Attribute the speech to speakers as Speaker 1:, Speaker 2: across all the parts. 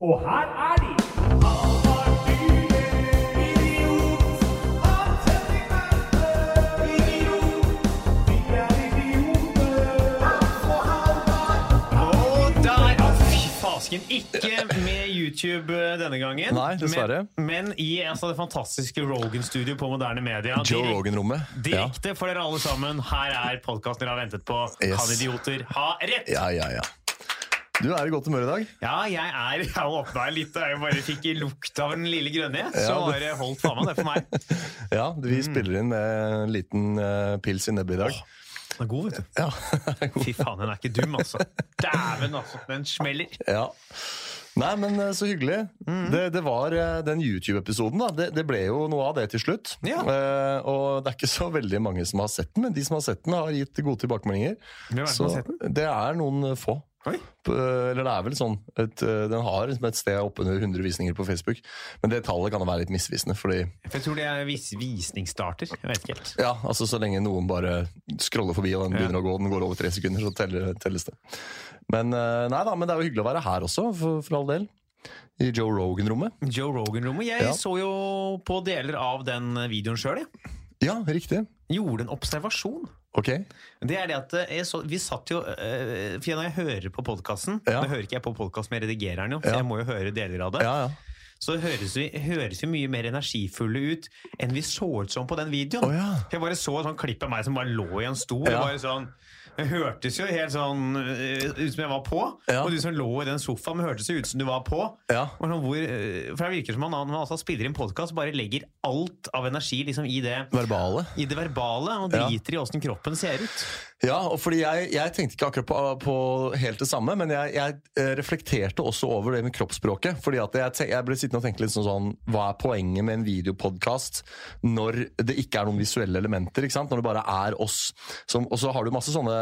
Speaker 1: Og her er de!
Speaker 2: Og der Å, fy fasken. Ikke med YouTube eh, denne gangen.
Speaker 3: Nei, dessverre.
Speaker 2: Men, men i altså, det fantastiske Rogan-studio på moderne media.
Speaker 3: Joe
Speaker 2: Direk-
Speaker 3: Rogan-rommet. Ja.
Speaker 2: Direkte for dere alle sammen. Her er podkasten dere har ventet på.
Speaker 3: Yes.
Speaker 2: Kan idioter ha rett?
Speaker 3: ja, ja, ja. Du er i godt humør i dag.
Speaker 2: Ja, jeg er Jeg åpna litt da jeg bare fikk lukt av den lille grønne. Så
Speaker 3: Ja, det-
Speaker 2: bare holdt faen meg det for meg.
Speaker 3: Ja, Vi spiller inn med en liten eh, pils i nebbet i dag.
Speaker 2: Den er god, vet du.
Speaker 3: Ja.
Speaker 2: Fy faen, den er ikke dum, altså. Dæven, altså. Den smeller.
Speaker 3: ja. Nei, men eh, så hyggelig. Det, det var eh, den YouTube-episoden, da. Det, det ble jo noe av det til slutt.
Speaker 2: Ja.
Speaker 3: Eh, og det er ikke så veldig mange som har sett den, men de som har sett den, har gitt gode tilbakemeldinger.
Speaker 2: Hvem er det som
Speaker 3: Så
Speaker 2: har sett
Speaker 3: det er noen eh, få.
Speaker 2: Oi.
Speaker 3: P- Eller det er vel sånn et, eh, Den har liksom et sted oppunder 100 visninger på Facebook. Men det tallet kan være litt misvisende, fordi
Speaker 2: For jeg tror det er vis visningsstarter. Jeg vet ikke helt.
Speaker 3: Ja, altså så lenge noen bare scroller forbi og den begynner å gå, den går over tre sekunder, så teller, telles det. Men eh, nei da, men det er jo hyggelig å være her også, for, for all del. I Joe Rogan-rommet.
Speaker 2: Joe Rogan-rommet. Jeg
Speaker 3: Ja.
Speaker 2: så jo på deler av den videoen sjøl.
Speaker 3: Ja, riktig.
Speaker 2: Gjorde en observasjon.
Speaker 3: Ok.
Speaker 2: Det er det at jeg så, Vi satt jo eh, For når jeg hører på podkasten
Speaker 3: Ja.
Speaker 2: Nå hører ikke jeg på podkasten, jeg redigerer den jo, så
Speaker 3: Ja.
Speaker 2: jeg må jo høre deler av det.
Speaker 3: Ja, ja.
Speaker 2: Så høres vi, høres vi mye mer energifulle ut enn vi så ut som på den videoen.
Speaker 3: Å, ja.
Speaker 2: Jeg bare så et sånt klipp av meg som bare lå i en stol.
Speaker 3: Ja.
Speaker 2: Bare sånn, det hørtes jo helt sånn eh, ut som jeg var på.
Speaker 3: Ja.
Speaker 2: Og du som lå i den sofaen, det hørtes jo ut som du var på.
Speaker 3: Ja.
Speaker 2: Og Sånn, hvor, eh, for det virker som han, når han altså spiller inn podkast, bare legger alt av energi liksom, i, det,
Speaker 3: Verbale.
Speaker 2: i det verbale, og
Speaker 3: Ja.
Speaker 2: driter i åssen kroppen ser ut.
Speaker 3: Ja, og fordi jeg, jeg tenkte ikke akkurat på, på helt det samme, men jeg, jeg eh, reflekterte også over det med kroppsspråket. fordi at jeg, te- jeg ble sittende og tenke litt sånn, sånn Hva er poenget med en videopodkast når det ikke er noen visuelle elementer? ikke sant? Når det bare er oss. Som, og så har du masse sånne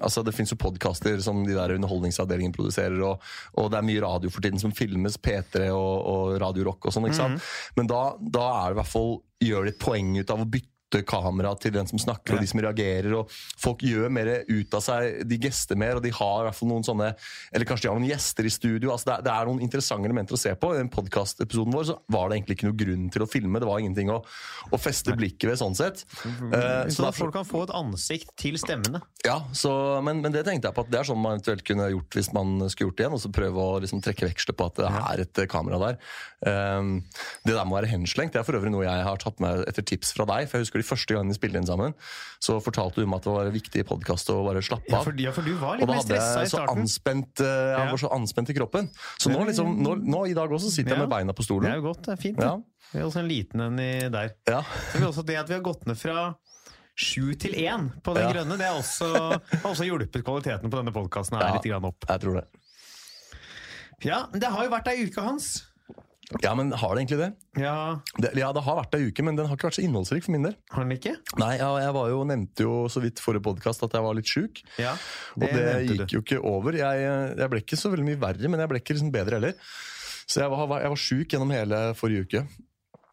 Speaker 3: altså Det fins jo podkaster som de der Underholdningsavdelingen produserer, og, og det er mye radio for tiden som filmes, P3 og, og Radio Rock og sånn. ikke sant? Men da, da er det i hvert fall gjør de et poeng ut av å bytte kamera til den som snakker og de som reagerer. og Folk gjør mer ut av seg, de gester mer, og de har i hvert fall noen sånne Eller kanskje de har noen gjester i studio. altså Det er, det er noen interessante elementer å se på. I den podkastepisoden vår så var det egentlig ikke noen grunn til å filme. Det var ingenting å, å feste blikket ved, sånn sett.
Speaker 2: Så,
Speaker 3: Eh, så
Speaker 2: at
Speaker 3: derfor,
Speaker 2: folk kan få et ansikt til stemmene.
Speaker 3: ja, så, men, men det tenkte jeg på at det er sånn man eventuelt kunne gjort hvis man skulle gjort det igjen. Og så prøve å liksom trekke veksler på at det er et eh, kamera der. Ehm, det der må være henslengt. Det er for øvrig noe jeg har tatt med etter tips fra deg. For jeg husker de første gangene vi spilte inn sammen, så fortalte du meg at det var viktig i podkast å bare slappe
Speaker 2: Ja,
Speaker 3: av.
Speaker 2: for, ja, for du var litt
Speaker 3: Og da
Speaker 2: mer
Speaker 3: hadde
Speaker 2: stressa i
Speaker 3: jeg så
Speaker 2: starten.
Speaker 3: anspent, eh, jeg
Speaker 2: Ja.
Speaker 3: var så anspent i kroppen. Så nå, liksom, nå, nå i dag også sitter
Speaker 2: Ja.
Speaker 3: jeg med beina
Speaker 2: Det
Speaker 3: på
Speaker 2: er
Speaker 3: stolen.
Speaker 2: jo godt. det er Fint.
Speaker 3: Ja.
Speaker 2: det. Vi har også en liten en i der.
Speaker 3: Ja.
Speaker 2: Så vil også det at vi har gått ned fra sju til én på den
Speaker 3: Ja.
Speaker 2: grønne, det har også, har også hjulpet kvaliteten på denne podkasten her
Speaker 3: Ja.
Speaker 2: litt grann opp.
Speaker 3: Jeg tror det.
Speaker 2: Ja, men det har jo vært ei uke, Hans.
Speaker 3: Ja, men har det egentlig det?
Speaker 2: Ja,
Speaker 3: det? Ja, det har vært ei uke, men den har ikke vært så innholdsrik for min del.
Speaker 2: har den ikke?
Speaker 3: Nei, jeg, jeg var jo, nevnte jo så vidt forrige podkast at jeg var litt sjuk.
Speaker 2: Ja,
Speaker 3: Og det,
Speaker 2: nevnte
Speaker 3: gikk jo ikke over. Jeg, eh, jeg ble ikke så veldig mye verre, men jeg ble ikke liksom bedre heller. Så jeg var, jeg var sjuk gjennom hele forrige uke.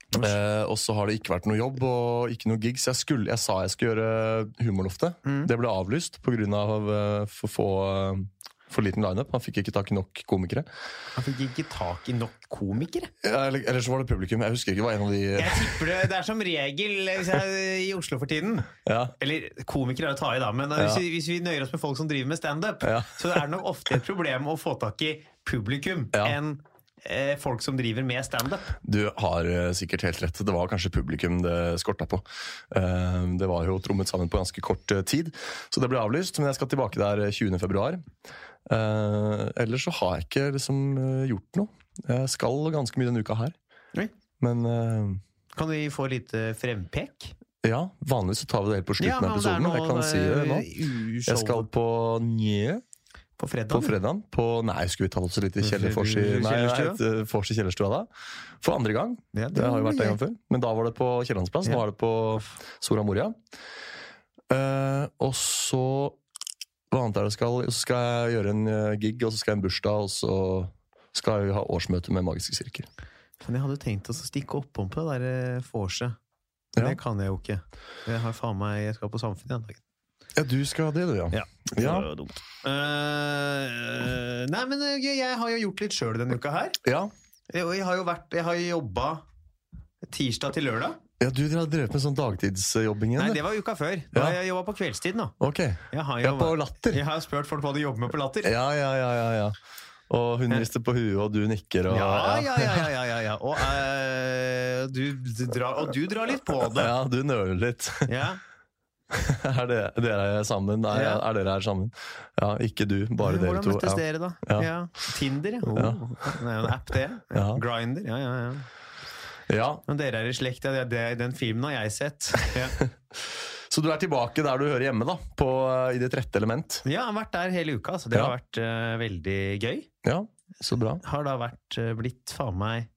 Speaker 3: Eh, og så har det ikke vært noe jobb og ikke noe gig, så jeg, skulle, jeg sa jeg skulle gjøre Humorloftet. Det ble avlyst pga. Av, eh, for få eh, for liten lineup. Han fikk ikke tak i nok komikere.
Speaker 2: Han fikk ikke tak i nok komikere.
Speaker 3: Ja, Eller, eller så var det publikum. Jeg husker ikke. Det var en av de
Speaker 2: Jeg tipper det, det er som regel hvis jeg, er i Oslo for tiden.
Speaker 3: ja.
Speaker 2: Eller komikere er å ta i, da, men
Speaker 3: Ja.
Speaker 2: hvis, vi, hvis vi nøyer oss med folk som driver med standup,
Speaker 3: Ja.
Speaker 2: så er det nok ofte et problem å få tak i publikum
Speaker 3: Ja.
Speaker 2: enn eh, folk som driver med standup.
Speaker 3: Du har eh, sikkert helt rett. Det var kanskje publikum det skorta på. Eh, Det var jo trommet sammen på ganske kort eh, tid, så det ble avlyst. Men jeg skal tilbake der eh, 20. februar. Eh, Ellers så har jeg ikke liksom eh, gjort noe. Jeg skal ganske mye denne uka her.
Speaker 2: Oi.
Speaker 3: Men eh,
Speaker 2: Kan vi få litt eh, frempek?
Speaker 3: ja, vanligvis så tar vi det helt på slutten av episoden. men Jeg kan si det nå. Jeg skal på Njø
Speaker 2: eh, på
Speaker 3: på
Speaker 2: fredag.
Speaker 3: fredag. På, nei, skulle vi tatt oss litt i Kjeller Fors i
Speaker 2: Kjellerstua?
Speaker 3: nei, nei, et, eh, Fors i kjellerstua da? For andre gang.
Speaker 2: Ja,
Speaker 3: Det har jo vært en gang før. Men da var det på Kiellandsplass. Nå
Speaker 2: Ja.
Speaker 3: er det på Soria Moria. Eh, og så Hva annet er det jeg skal Så skal jeg gjøre en eh, gig, og så skal jeg ha en bursdag, og så skal jeg ha årsmøte med Magiske sirkel.
Speaker 2: Men jeg hadde tenkt å stikke oppom på det der eh, vorset. Men
Speaker 3: Ja.
Speaker 2: Det kan jeg jo ikke. Jeg har faen meg Jeg skal på Samfunnet den dagen.
Speaker 3: Ja, du skal ha det, du, ja.
Speaker 2: Ja. Så
Speaker 3: Ja.
Speaker 2: det var dumt. Eh, nei, men eh, jeg, jeg har jo gjort litt sjøl denne uka her.
Speaker 3: Ja,
Speaker 2: Jeg, jeg har jo vært Jeg har jobba tirsdag til lørdag.
Speaker 3: ja du dere har drevet med sånn dagtidsjobbing
Speaker 2: Nei,
Speaker 3: igjen?
Speaker 2: det
Speaker 3: du.
Speaker 2: var uka før. Da har
Speaker 3: Ja.
Speaker 2: jeg jobba på kveldstid nå.
Speaker 3: Ok.
Speaker 2: Jeg har
Speaker 3: Ja,
Speaker 2: jo,
Speaker 3: på latter.
Speaker 2: jeg har jo spurt folk hva de jobber med på Latter.
Speaker 3: Ja, ja, ja, ja, ja. Og hun rister på huet, og du nikker, og
Speaker 2: Ja, ja, ja, ja, ja, ja, ja. Og, eh, du, du drar, og du drar litt på det.
Speaker 3: Ja, du nøler litt.
Speaker 2: Ja.
Speaker 3: Er dere, dere er sammen? Nei,
Speaker 2: Ja.
Speaker 3: er dere her sammen? Ja, ikke du, bare dere
Speaker 2: Hvordan
Speaker 3: to.
Speaker 2: møttes
Speaker 3: ja.
Speaker 2: dere, da?
Speaker 3: Ja.
Speaker 2: Ja. Tinder, ja. Oh. Det er jo en app, det. Ja.
Speaker 3: Ja.
Speaker 2: Grinder, ja, ja, ja.
Speaker 3: Ja,
Speaker 2: Men dere er i slekt, ja. Det, det, den filmen har jeg sett. Ja.
Speaker 3: Så du er tilbake der du hører hjemme, da, på, eh, i ditt rette element?
Speaker 2: Ja, jeg har vært der hele uka, så det
Speaker 3: Ja.
Speaker 2: har vært eh, veldig gøy.
Speaker 3: Ja, så bra.
Speaker 2: Har da vært eh, blitt faen meg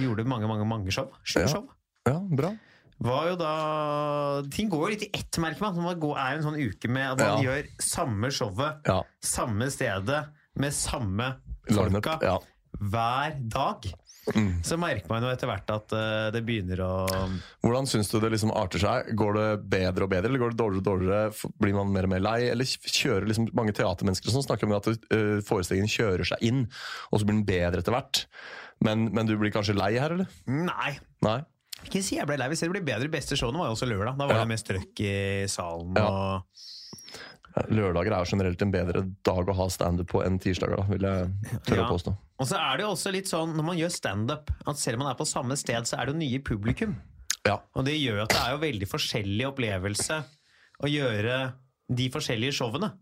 Speaker 2: Gjorde mange, mange, mange show. Sju
Speaker 3: Ja.
Speaker 2: show.
Speaker 3: Ja, bra.
Speaker 2: Var jo da Ting går jo litt i ett, merker man. Man går, er en sånn uke med at man
Speaker 3: Ja.
Speaker 2: gjør samme showet,
Speaker 3: Ja,
Speaker 2: samme stedet, med samme
Speaker 3: lineup,
Speaker 2: folka
Speaker 3: Ja.
Speaker 2: hver dag.
Speaker 3: Mm.
Speaker 2: Så merker man jo etter hvert at eh, det begynner å
Speaker 3: Hvordan syns du det liksom arter seg? Går det bedre og bedre, eller går det dårligere og dårligere? F- Blir man mer og mer lei? Eller kjører liksom mange teatermennesker og sånn snakker om at eh, forestillingen kjører seg inn, og så blir den bedre etter hvert. Men, men du blir kanskje lei her, eller?
Speaker 2: Nei,
Speaker 3: Nei?
Speaker 2: Ikke si jeg ble lei. Vi ser det blir bedre. Beste showene var jo også lørdag. Da var
Speaker 3: Ja.
Speaker 2: det mest trøkk i salen.
Speaker 3: Ja.
Speaker 2: Og...
Speaker 3: Lørdager er jo generelt en bedre dag å ha standup på enn tirsdager, da, vil jeg tørre
Speaker 2: Ja.
Speaker 3: å påstå.
Speaker 2: og så er det jo også litt sånn når man gjør standup, at selv om man er på samme sted, så er det jo nye publikum.
Speaker 3: Ja.
Speaker 2: Og det gjør at det er jo veldig forskjellig opplevelse å gjøre de forskjellige showene.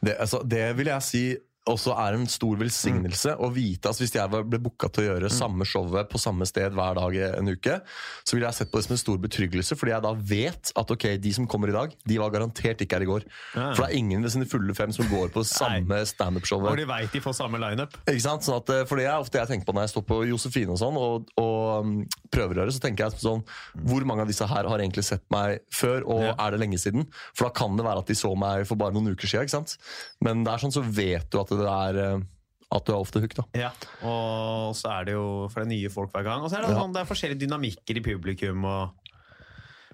Speaker 3: Det, altså, det vil jeg si også er en stor velsignelse
Speaker 2: Mm.
Speaker 3: å vite at hvis jeg var- ble booka til å gjøre samme showet på samme sted hver dag i en uke, så ville jeg sett på det som en stor betryggelse, fordi jeg da vet at ok, de som kommer i dag, de var garantert ikke her i går.
Speaker 2: Ja.
Speaker 3: For det er ingen ved sine fulle fem som går på samme standup-showet.
Speaker 2: Hvor de veit de får samme lineup.
Speaker 3: Ikke sant? Sånn at, eh, for det er ofte jeg tenker på når jeg står på Josefine og sånn, og, og um, prøver å gjøre, så tenker jeg sånn Hvor mange av disse her har egentlig sett meg før, og
Speaker 2: Ja.
Speaker 3: er det lenge siden? For da kan det være at de så meg for bare noen uker siden. Ikke sant? Men det er sånn så vet du at det er eh, At du er ofte hooked, da.
Speaker 2: Ja. Og så er det jo for det er nye folk hver gang. Og så er det,
Speaker 3: Ja.
Speaker 2: sånn, det er forskjellige dynamikker i publikum. Og...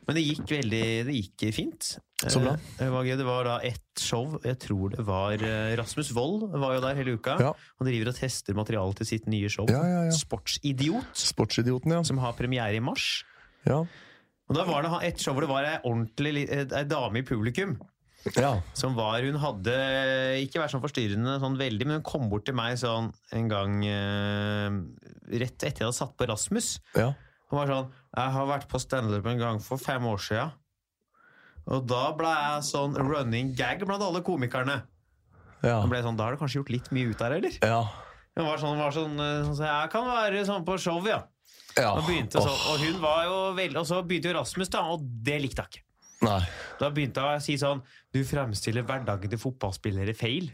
Speaker 2: Men det gikk veldig det gikk fint.
Speaker 3: Så bra.
Speaker 2: Eh, Det var, gøy. det var da ett show. Jeg tror det var eh, Rasmus Wold var jo der hele uka.
Speaker 3: Ja.
Speaker 2: Han driver og tester materiale til sitt nye show.
Speaker 3: Ja, ja, ja.
Speaker 2: Sportsidiot,
Speaker 3: Sportsidioten, ja.
Speaker 2: som har premiere i mars.
Speaker 3: Ja.
Speaker 2: Og da var det ha- et show hvor det var ei ordentlig li- eh, ei dame i publikum.
Speaker 3: ja.
Speaker 2: Som var, Hun hadde ikke vært sånn forstyrrende sånn veldig, men hun kom bort til meg sånn en gang eh, rett etter jeg hadde satt på Rasmus.
Speaker 3: ja.
Speaker 2: Hun var sånn 'Jeg har vært på standup en gang for fem år sia'. Og da ble jeg sånn running gag blant alle komikerne.
Speaker 3: ja.
Speaker 2: Da ble jeg sånn, da har du kanskje gjort litt mye ut der, eller?
Speaker 3: Ja.
Speaker 2: Hun var sånn, var sånn, eh, sånn, så Jeg kan være sånn på show, ja.
Speaker 3: ja.
Speaker 2: Og, begynte sånn,
Speaker 3: Åh,
Speaker 2: og, hun var jo veldig, og så begynte jo Rasmus, da, og det likte jeg ikke.
Speaker 3: Nei.
Speaker 2: Da begynte hun å si sånn Du fremstiller hverdagen til fotballspillere feil.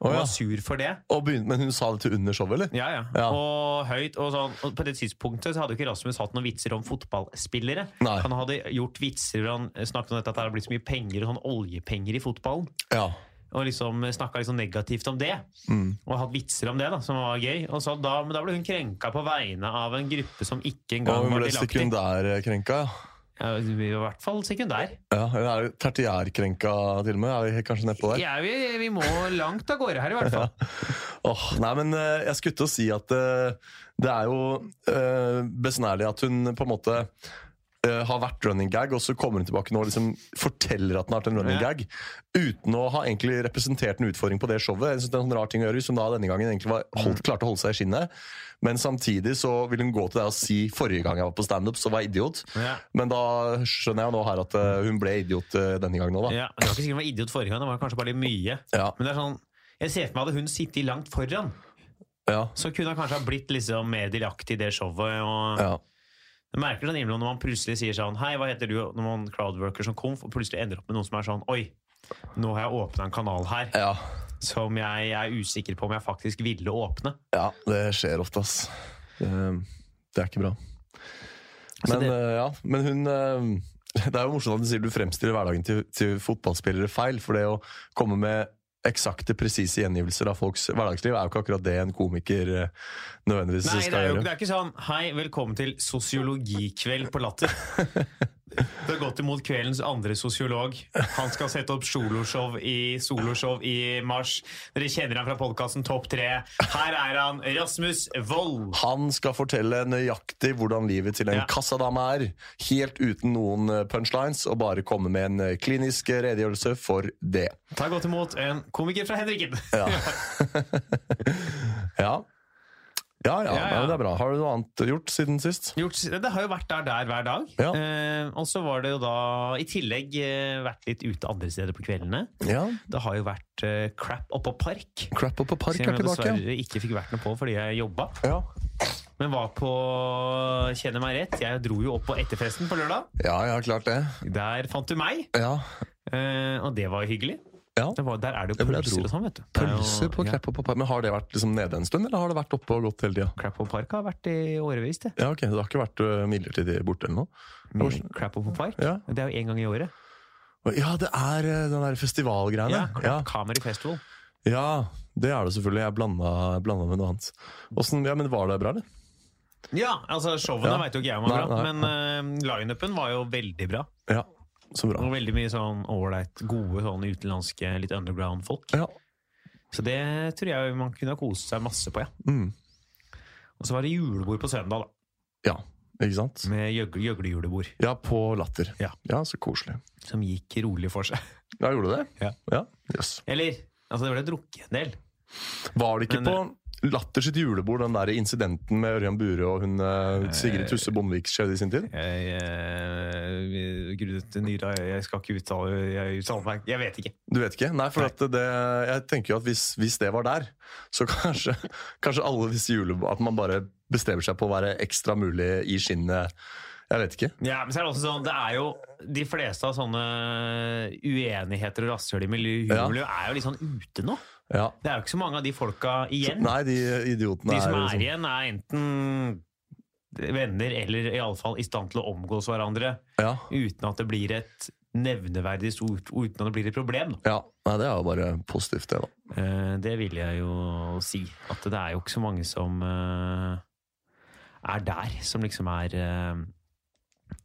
Speaker 3: Å,
Speaker 2: Og
Speaker 3: ja.
Speaker 2: var sur for det.
Speaker 3: og begynte, men hun sa det til under showet, eller?
Speaker 2: Ja, ja.
Speaker 3: Ja.
Speaker 2: Og høyt. Og, sånn. og på det tidspunktet så hadde jo ikke Rasmus hatt noen vitser om fotballspillere.
Speaker 3: Nei.
Speaker 2: Han hadde gjort vitser hvor han snakket om dette, at det har blitt så mye penger, sånn oljepenger i fotballen.
Speaker 3: Ja.
Speaker 2: Og liksom snakka liksom negativt om det.
Speaker 3: Mm.
Speaker 2: Og hatt vitser om det, da, som var gøy. Og så da, men da ble hun krenka på vegne av en gruppe som ikke
Speaker 3: Og
Speaker 2: engang
Speaker 3: hun
Speaker 2: var
Speaker 3: ble
Speaker 2: delaktig.
Speaker 3: sekundærkrenka, ja.
Speaker 2: Ja, I hvert fall sekundær.
Speaker 3: Ja, eller er det tertiærkrenka til og med? Er vi kanskje nedpå der?
Speaker 2: Ja, vi, vi må langt av gårde her, i hvert fall.
Speaker 3: Åh, nei, men eh, jeg skulle til å si at eh, det er jo eh, besnærlig at hun på en måte eh, har vært running gag, og så kommer hun tilbake nå og liksom forteller at hun har vært en running
Speaker 2: Ja.
Speaker 3: gag, uten å ha egentlig representert en utfordring på det showet. Jeg synes det er en sånn rar ting å gjøre Hvis hun da denne gangen egentlig var, holdt, klarte å holde seg i skinnet, men samtidig så vil hun gå til deg og si forrige gang jeg var på standup, så var jeg idiot.
Speaker 2: Ja.
Speaker 3: Men da skjønner jeg jo nå her at eh, hun ble idiot eh, denne gangen òg, da.
Speaker 2: Ja, det var ikke sikkert hun var idiot forrige gang, det var kanskje bare litt mye.
Speaker 3: Ja,
Speaker 2: Men det er sånn, jeg ser for meg hadde hun sittet langt foran,
Speaker 3: ja,
Speaker 2: så kunne hun kanskje ha blitt liksom mer delaktig i det showet. Og
Speaker 3: ja.
Speaker 2: Jeg merker sånn innimellom når man plutselig sier sånn Hei, hva heter du? Og Når man crowdworker som konf, og plutselig ender opp med noen som er sånn Oi, nå har jeg åpna en kanal her
Speaker 3: ja.
Speaker 2: som jeg, er usikker på om jeg faktisk ville åpne.
Speaker 3: Ja, det skjer ofte, ass. Det, det er ikke bra.
Speaker 2: Så
Speaker 3: Men,
Speaker 2: Altså, det-
Speaker 3: eh, ja, men hun eh, Det er jo morsomt at du sier du fremstiller hverdagen til, til fotballspillere feil, for det å komme med eksakte, presise gjengivelser av folks hverdagsliv er jo ikke akkurat det en komiker eh, nødvendigvis
Speaker 2: Nei, det
Speaker 3: skal
Speaker 2: er jo
Speaker 3: gjøre.
Speaker 2: det er ikke sånn Hei, velkommen til sosiologikveld på Latter. Det har gått imot kveldens andre sosiolog. Han skal sette opp soloshow i, soloshow i mars. Dere kjenner han fra podkasten Topp tre. Her er han, Rasmus Wold.
Speaker 3: Han skal fortelle nøyaktig hvordan livet til en
Speaker 2: Ja.
Speaker 3: kassadame er, helt uten noen eh, punchlines, og bare komme med en eh, klinisk redegjørelse for det.
Speaker 2: Ta godt imot en komiker fra Henriken.
Speaker 3: Ja. ja. Ja, ja,
Speaker 2: Ja, ja.
Speaker 3: men det er bra. Har du noe annet gjort siden sist?
Speaker 2: Gjort, det har jo vært der der hver dag.
Speaker 3: Ja.
Speaker 2: Eh, og så var det jo da i tillegg eh, vært litt ute andre steder på kveldene.
Speaker 3: Ja.
Speaker 2: Det har jo vært eh, crap oppå park.
Speaker 3: Crap Up og Park
Speaker 2: Som
Speaker 3: er
Speaker 2: jeg
Speaker 3: tilbake.
Speaker 2: dessverre ikke fikk vært noe på fordi jeg jobba.
Speaker 3: Ja.
Speaker 2: Men var på Kjenner meg rett. Jeg dro jo opp på etterfesten på lørdag.
Speaker 3: ja, jeg har klart det.
Speaker 2: Der fant du meg,
Speaker 3: Ja.
Speaker 2: eh, og det var hyggelig.
Speaker 3: Ja.
Speaker 2: Det var, der er det jo
Speaker 3: Det var der
Speaker 2: pølser
Speaker 3: dro.
Speaker 2: og sånn, vet du. Det er jo-
Speaker 3: Pølser på
Speaker 2: ja.
Speaker 3: Crap Up og Park. Men har det vært liksom nede en stund, eller har det vært oppe og gått hele tida?
Speaker 2: Crap og park har vært i årevis, det.
Speaker 3: Ja, ok, Det har ikke vært øh, midlertidig borte eller noe?
Speaker 2: Men Crap og park,
Speaker 3: Ja.
Speaker 2: det er jo én gang i året.
Speaker 3: Ja, det er øh, den der festivalgreiene.
Speaker 2: Ja,
Speaker 3: Ja.
Speaker 2: Comedy Festival.
Speaker 3: ja, det er det selvfølgelig. Jeg blanda, blanda med noe annet. Hvordan- ja, men var det bra, eller?
Speaker 2: Ja, altså showene
Speaker 3: Ja.
Speaker 2: vet jo ikke jeg om var
Speaker 3: Nei,
Speaker 2: bra,
Speaker 3: nei,
Speaker 2: men uh, lineupen var jo veldig bra.
Speaker 3: Ja, så bra.
Speaker 2: Og veldig mye sånn ålreit, gode sånn utenlandske, litt underground folk.
Speaker 3: Ja.
Speaker 2: Så det tror jeg man kunne ha kost seg masse på, ja.
Speaker 3: Mm.
Speaker 2: Og så var det julebord på søndag, da.
Speaker 3: ja, ikke sant?
Speaker 2: Med gjøgle- gjøglejulebord,
Speaker 3: Mm. Ja, på Latter.
Speaker 2: Ja.
Speaker 3: så koselig.
Speaker 2: som gikk rolig for seg.
Speaker 3: Ja, gjorde du det?
Speaker 2: Ja.
Speaker 3: jøss.
Speaker 2: Eller Altså, det ble drukket en del.
Speaker 3: Var det ikke
Speaker 2: Men,
Speaker 3: på eh, Latter sitt julebord, den der incidenten med Ørjan Bure og hun eh, Sigrid Tusse Bondevik skjedde i sin tid?
Speaker 2: Jeg eh, grunnet nyra Jeg skal ikke uttale Jeg uttaler meg Jeg vet ikke.
Speaker 3: Du vet ikke? Nei, for
Speaker 2: Nei.
Speaker 3: At det, jeg tenker jo at hvis, hvis det var der, så kanskje, kanskje alle disse julebord At man bare bestemmer seg på å være ekstra mulig i skinnet. Jeg vet ikke.
Speaker 2: Ja, men så er det også sånn Det er jo De fleste av sånne eh, uenigheter og rasshøl i miljømiljøet er jo litt sånn ute nå.
Speaker 3: Ja.
Speaker 2: Det er jo ikke så mange av de folka igjen.
Speaker 3: Nei, de idiotene
Speaker 2: de som
Speaker 3: jo
Speaker 2: er
Speaker 3: sånn-
Speaker 2: igjen, er enten venner eller iallfall i stand til å omgås hverandre
Speaker 3: Ja.
Speaker 2: uten at det blir et nevneverdig stort Uten at det blir et problem. da.
Speaker 3: ja. Nei, det er jo bare positivt, det, da.
Speaker 2: Eh, Det vil jeg jo si. At det er jo ikke så mange som eh, er der, som liksom er eh,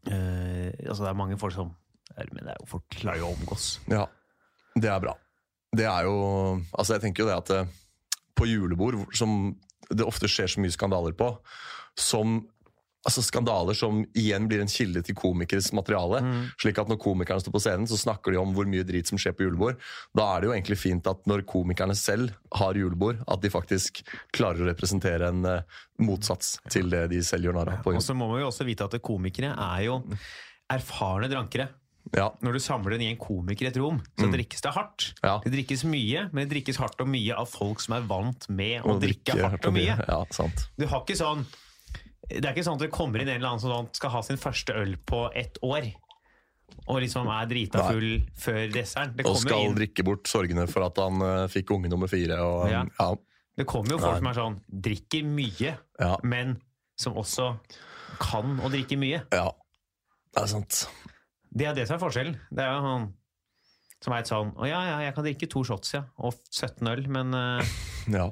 Speaker 2: eh, Altså, det er mange folk som er- Men det er jo folk klarer jo å omgås.
Speaker 3: Ja, det er bra. Det er jo Altså, jeg tenker jo det at eh, på julebord, hvor- som det ofte skjer så mye skandaler på, som Altså Skandaler som igjen blir en kilde til komikeres materiale.
Speaker 2: Mm.
Speaker 3: slik at Når komikerne står på scenen, så snakker de om hvor mye drit som skjer på julebord. Da er det jo egentlig fint at når komikerne selv har julebord, at de faktisk klarer å representere en eh, motsats til det de selv gjør narr av. på
Speaker 2: Og
Speaker 3: jul.
Speaker 2: så må man jo også vite at komikere er jo erfarne drankere.
Speaker 3: Ja,
Speaker 2: Når du samler en gjeng komikere i et rom, så drikkes det hardt.
Speaker 3: Ja.
Speaker 2: Det drikkes mye, men det drikkes hardt og mye av folk som er vant med å drikke hardt og mye.
Speaker 3: Ja, sant.
Speaker 2: Du har ikke sånn Det er ikke sånn at det kommer inn en eller annen som sånn skal ha sin første øl på ett år. Og liksom er drita
Speaker 3: Nei.
Speaker 2: full før desserten. Det
Speaker 3: Og
Speaker 2: kommer, jo
Speaker 3: skal
Speaker 2: inn,
Speaker 3: drikke bort sorgene for at han eh, fikk unge nummer fire. Og, eh,
Speaker 2: Ja.
Speaker 3: ja.
Speaker 2: det kommer jo folk
Speaker 3: Nei.
Speaker 2: som er sånn Drikker mye,
Speaker 3: Ja,
Speaker 2: men som også kan å drikke mye.
Speaker 3: ja. Det er sant.
Speaker 2: Det er det som er forskjellen. Det er jo han som er et sånn Å ja, ja, jeg kan drikke to shots, ja. Og 17 øl, men eh,
Speaker 3: Ja.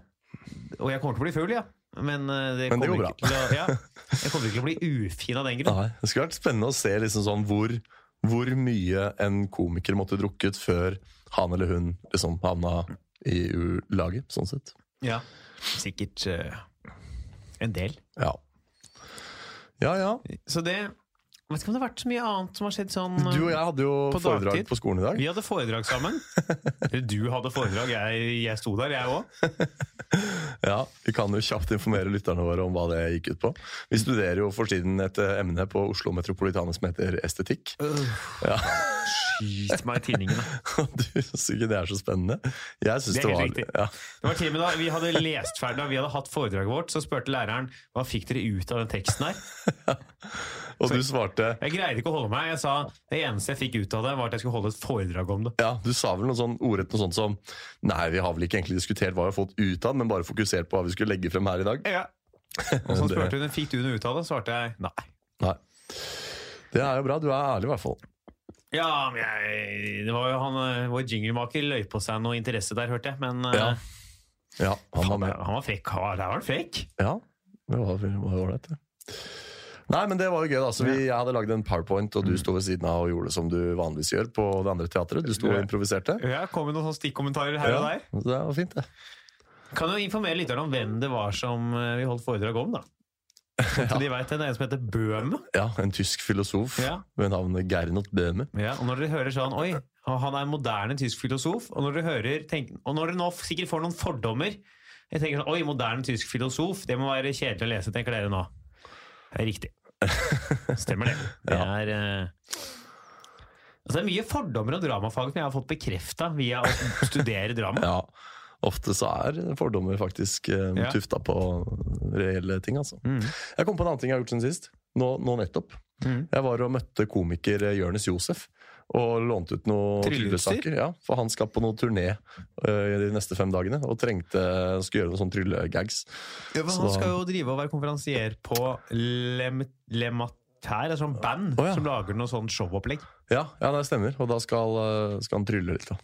Speaker 2: Og jeg kommer til å bli full, ja. Men eh, det,
Speaker 3: Men det
Speaker 2: kommer
Speaker 3: går
Speaker 2: ikke til å, ja, Jeg kommer ikke til å bli ufin av den grunn.
Speaker 3: Nei, det skulle vært spennende å se liksom sånn hvor, hvor mye en komiker måtte drukket før han eller hun liksom havna i U-laget, sånn sett.
Speaker 2: Ja. Sikkert eh, en del.
Speaker 3: Ja. Ja, ja.
Speaker 2: Så det jeg Vet ikke om det har vært så mye annet som har skjedd sånn eh,
Speaker 3: Du og jeg hadde jo
Speaker 2: På
Speaker 3: foredrag
Speaker 2: dagtid.
Speaker 3: på skolen i dag.
Speaker 2: Vi hadde foredrag sammen. Eller Du hadde foredrag, jeg, jeg sto der, jeg òg.
Speaker 3: Ja, Vi kan jo kjapt informere lytterne våre om hva det gikk ut på. Vi studerer jo for tiden et eh, emne på Oslo Metropolitane som heter estetikk. Ja.
Speaker 2: Skyt meg i tinningen. da.
Speaker 3: Du syns ikke det er så spennende? Jeg
Speaker 2: Det
Speaker 3: syns det,
Speaker 2: er helt riktig.
Speaker 3: var ja.
Speaker 2: Det var til og med da vi hadde lest ferdig, da vi hadde hatt foredraget vårt, så spurte læreren hva fikk dere ut av den teksten her.
Speaker 3: Og du svarte
Speaker 2: Jeg greide ikke å holde meg. Jeg sa det eneste jeg fikk ut av det, var at jeg skulle holde et foredrag om det.
Speaker 3: ja, Du sa vel noe sånn ordrett noe sånt som Nei, vi har vel ikke egentlig diskutert hva vi har fått ut av, men bare fokusert på hva vi skulle legge frem her i dag.
Speaker 2: Ja. Og så
Speaker 3: Det-
Speaker 2: spurte hun fikk du noe ut av det, svarte jeg nei.
Speaker 3: Nei. Det er jo bra. Du er ærlig, i hvert fall.
Speaker 2: Ja, men jeg, det var jo han, eh, Vår jinglemaker løy på seg noe interesse der, hørte jeg. Men eh,
Speaker 3: Ja, Ja, han var
Speaker 2: faen,
Speaker 3: med.
Speaker 2: han var frekk. Ja, Der var han frekk.
Speaker 3: Ja, det var det var ålreit, det. Nei, men det var jo gøy, da. Så vi, jeg hadde lagd en powerpoint,
Speaker 2: Mm.
Speaker 3: og du sto ved siden av og gjorde som du vanligvis gjør på det andre teatret. Du sto og improviserte.
Speaker 1: Ja, kom med noen sånne stikkommentarer her og
Speaker 3: Ja,
Speaker 1: der.
Speaker 3: så det var fint, det.
Speaker 2: Kan jo informere lytterne om hvem det var som eh, vi holdt foredrag om, da. Sånn at de vet det. Det er en som heter Bøhme.
Speaker 3: Ja, En tysk filosof
Speaker 2: Ja.
Speaker 3: ved navnet Gernot Bøhme.
Speaker 2: Ja, og når dere hører sånn Oi, og han er en moderne tysk filosof. Og når dere hører tenk, Og når dere nå sikkert får noen fordommer Jeg tenker sånn Oi, moderne tysk filosof. Det må være kjedelig å lese, tenker dere nå. Det er riktig. Stemmer det. Det
Speaker 3: Ja.
Speaker 2: er eh, Altså, det er mye fordommer om dramafag som jeg har fått bekrefta via å studere drama.
Speaker 3: Ja, Ofte så er fordommer faktisk eh,
Speaker 2: Ja.
Speaker 3: tufta på reelle ting, altså.
Speaker 2: Mm.
Speaker 3: Jeg kom på en annen ting jeg har gjort siden sist. Nå, nå nettopp.
Speaker 2: Mhm.
Speaker 3: Jeg var og møtte komiker eh, Jonis Josef. Og lånte ut noen
Speaker 2: Trylleutstyr?
Speaker 3: tryllesaker. Ja, for han skal på noen turné eh, de neste fem dagene. Og trengte skulle gjøre noen sånne tryllegags.
Speaker 2: Ja, for
Speaker 3: Så
Speaker 2: han
Speaker 3: da-
Speaker 2: skal jo drive og være konferansier på Lem Lematær, et sånt sånn band
Speaker 3: Å, ja.
Speaker 2: som lager noe sånt showopplegg.
Speaker 3: Ja, ja, det stemmer. Og da skal, eh, skal han trylle litt. da.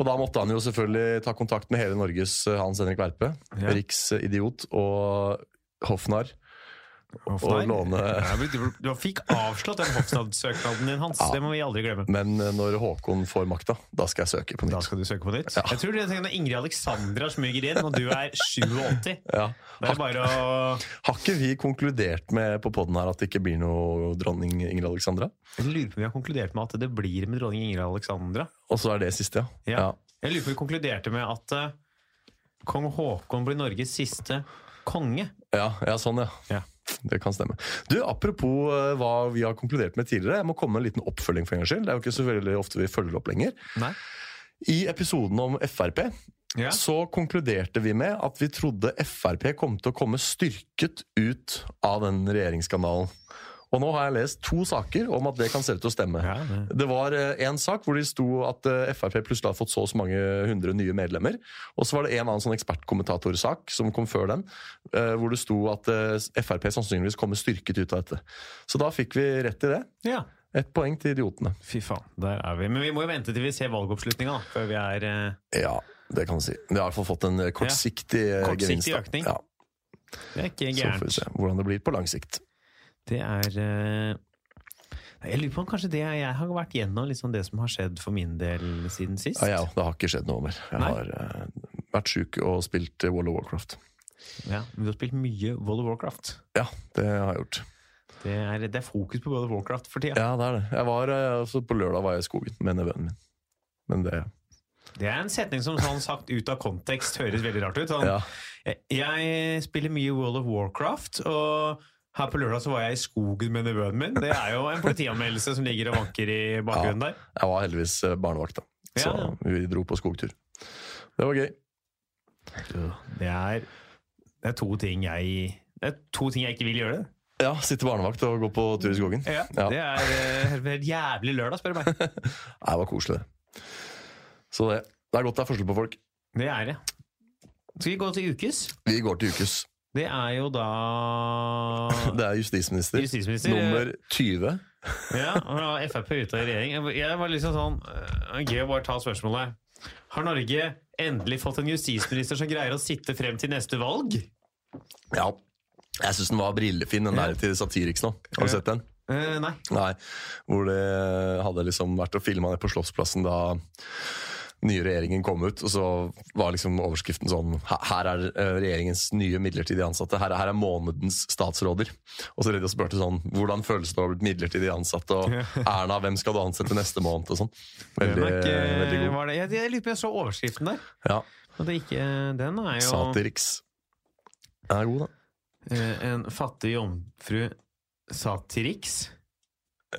Speaker 3: Og da måtte han jo selvfølgelig ta kontakt med hele Norges eh, Hans Henrik Verpe,
Speaker 2: Ja.
Speaker 3: Riksidiot og Hoffnarr. Og låne
Speaker 2: Ja, men Du, du fikk avslått den hoffnadssøknaden din, Hans.
Speaker 3: Ja.
Speaker 2: Det må vi aldri glemme.
Speaker 3: Men eh, når Håkon får makta, da skal jeg søke på
Speaker 2: Da
Speaker 3: nytt.
Speaker 2: skal du søke på nytt. Jeg tror det er når Ingrid Alexandra smyger inn, og du er 87.
Speaker 3: Ja.
Speaker 2: Det er bare å
Speaker 3: Har ikke vi konkludert med på podden her at det ikke blir noe dronning Ingrid Alexandra?
Speaker 2: Jeg lurer på om vi har konkludert med at det blir med dronning Ingrid Alexandra.
Speaker 3: Og så er det siste, ja.
Speaker 2: Ja. Jeg lurer på om vi konkluderte med at eh, kong Haakon blir Norges siste konge.
Speaker 3: Ja, ja, sånn, ja.
Speaker 2: Ja.
Speaker 3: Det kan stemme. Du, Apropos eh, hva vi har konkludert med tidligere, jeg må komme med en liten oppfølging. for en gangs skyld. Det er jo ikke så veldig ofte vi følger opp lenger.
Speaker 2: Nei?
Speaker 3: I episoden om Frp
Speaker 2: Ja.
Speaker 3: så konkluderte vi med at vi trodde Frp kom til å komme styrket ut av den regjeringsskandalen. Og nå har jeg lest to saker om at det kan se ut til å stemme.
Speaker 2: Ja, det.
Speaker 3: Det var én sak hvor de sto at eh, Frp plutselig hadde fått så og så mange hundre nye medlemmer. Og så var det en annen sånn ekspertkommentatorsak som kom før den, eh, hvor det sto at eh, Frp sannsynligvis kommer styrket ut av dette. Så da fikk vi rett i det.
Speaker 2: ja.
Speaker 3: Ett poeng til idiotene.
Speaker 2: Fy faen, der er vi. Men vi må jo vente til vi ser valgoppslutninga, da, før vi er eh,
Speaker 3: Ja, det kan du si. Vi har i hvert fall fått en eh, kortsiktig eh,
Speaker 2: Kortsiktig
Speaker 3: gevinst. da.
Speaker 2: økning.
Speaker 3: Ja,
Speaker 2: Det er ikke
Speaker 3: så får vi
Speaker 2: gærent.
Speaker 3: se hvordan det blir på lang sikt.
Speaker 2: Det er eh, nei, Jeg lurer på om kanskje det jeg har vært gjennom, liksom det som har skjedd for min del siden sist.
Speaker 3: Ja, jeg òg. Det har ikke skjedd noe mer. Jeg
Speaker 2: Nei.
Speaker 3: har eh, vært sjuk og spilt eh, World of Warcraft.
Speaker 2: Ja, men du har spilt mye World of Warcraft.
Speaker 3: Ja, det har jeg gjort.
Speaker 2: Det er, det er fokus på World of Warcraft for tida.
Speaker 3: Ja, det er det. Jeg var, eh, altså, på lørdag var jeg i skogen med nevøen min. Men det
Speaker 2: Det er en setning som sånn sagt ut av kontekst høres veldig rart ut. Sånn,
Speaker 3: Ja.
Speaker 2: jeg, jeg spiller mye World of Warcraft, og her på lørdag så var jeg i skogen med nevøen min. Det er jo en politianmeldelse som ligger og vanker i bakgrunnen der.
Speaker 3: Jeg var heldigvis eh, barnevakt, da. Så
Speaker 2: Ja, ja.
Speaker 3: vi dro på skogtur. Det var gøy.
Speaker 2: Det er, det er to ting jeg det er to ting jeg ikke vil gjøre.
Speaker 3: Ja, sitte barnevakt og gå på tur i skogen.
Speaker 2: Ja,
Speaker 3: Ja.
Speaker 2: Det er eh, helt jævlig lørdag, spør du meg.
Speaker 3: Nei, det var koselig. Så det, det er godt det er forskjell på folk.
Speaker 2: Det er det. Skal vi gå til ukes?
Speaker 3: Vi går til ukes.
Speaker 2: Det er jo da
Speaker 3: Det er justisminister.
Speaker 2: Justisminister. eh,
Speaker 3: Nummer 20.
Speaker 2: Ja, og da er Frp ute av regjering. Jeg var- Jeg var liksom sånn eh, Gøy å bare ta spørsmålet. Har Norge endelig fått en justisminister som greier å sitte frem til neste valg?
Speaker 3: Ja. Jeg syns den var brillefin, den der til Satiriks nå. Har du
Speaker 2: Ja.
Speaker 3: sett den?
Speaker 2: Eh, nei.
Speaker 3: Nei. Hvor det hadde liksom vært og filma det på Slottsplassen da nye regjeringen kom ut, og så var liksom overskriften sånn "Her- Her er eh, regjeringens nye midlertidig ansatte. Her, er- her er månedens statsråder. Og så redde og spurte sånn Hvordan føles det å ha blitt midlertidig ansatt? Og Erna, hvem skal du ansette neste måned? Og sånn.
Speaker 2: Den
Speaker 3: Veldig,
Speaker 2: er eh, ikke,
Speaker 3: veldig god.
Speaker 2: var det, jeg, jeg lurer på jeg så overskriften der.
Speaker 3: Ja.
Speaker 2: Og det er ikke, den er jo
Speaker 3: Satiriks. Den er god, da.
Speaker 2: eh, En fattig jomfru Satiriks.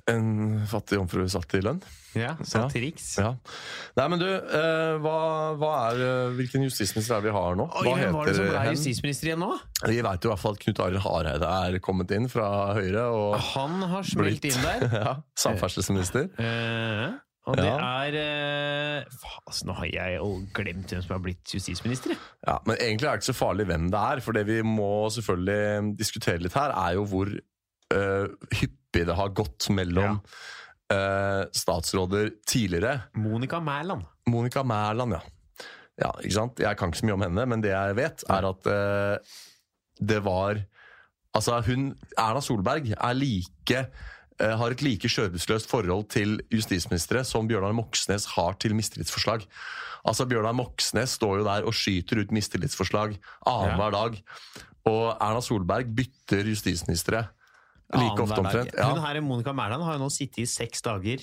Speaker 3: En fattig jomfru satt i lønn.
Speaker 2: Ja, Satiriks.
Speaker 3: Ja. Nei, men du, eh, hva, hva er, eh, hvilken justisminister er det vi har nå?
Speaker 2: Oi,
Speaker 3: hva
Speaker 2: hvem var det som ble
Speaker 3: hen?
Speaker 2: justisminister igjen nå?
Speaker 3: Vi veit jo i hvert fall at Knut Arild Hareide er kommet inn fra Høyre. og
Speaker 2: Han har smelt
Speaker 3: Blitt.
Speaker 2: inn der.
Speaker 3: ja, Samferdselsminister.
Speaker 2: Eh, og det
Speaker 3: Ja.
Speaker 2: er eh, faen, altså, Nå har jeg jo glemt hvem som har blitt justisminister. jeg.
Speaker 3: Ja, Men egentlig er det ikke så farlig hvem det er. For det vi må selvfølgelig eh, diskutere litt her, er jo hvor eh, hyppig det har gått mellom eh, statsråder tidligere.
Speaker 2: Monica Mæland.
Speaker 3: Monica Mæland, ja. ja ikke sant? Jeg kan ikke så mye om henne, men det jeg vet, er at eh, det var Altså, hun, Erna Solberg er like eh, har et like skjødesløst forhold til justisministre som Bjørnar Moxnes har til mistillitsforslag. Altså, Bjørnar Moxnes står jo der og skyter ut mistillitsforslag annenhver dag. Og Erna Solberg bytter justisministre like
Speaker 2: Annenhver
Speaker 3: ofte
Speaker 2: dag.
Speaker 3: omtrent. Ja.
Speaker 2: Hun her, Monica Mæland, har jo nå sittet i seks dager.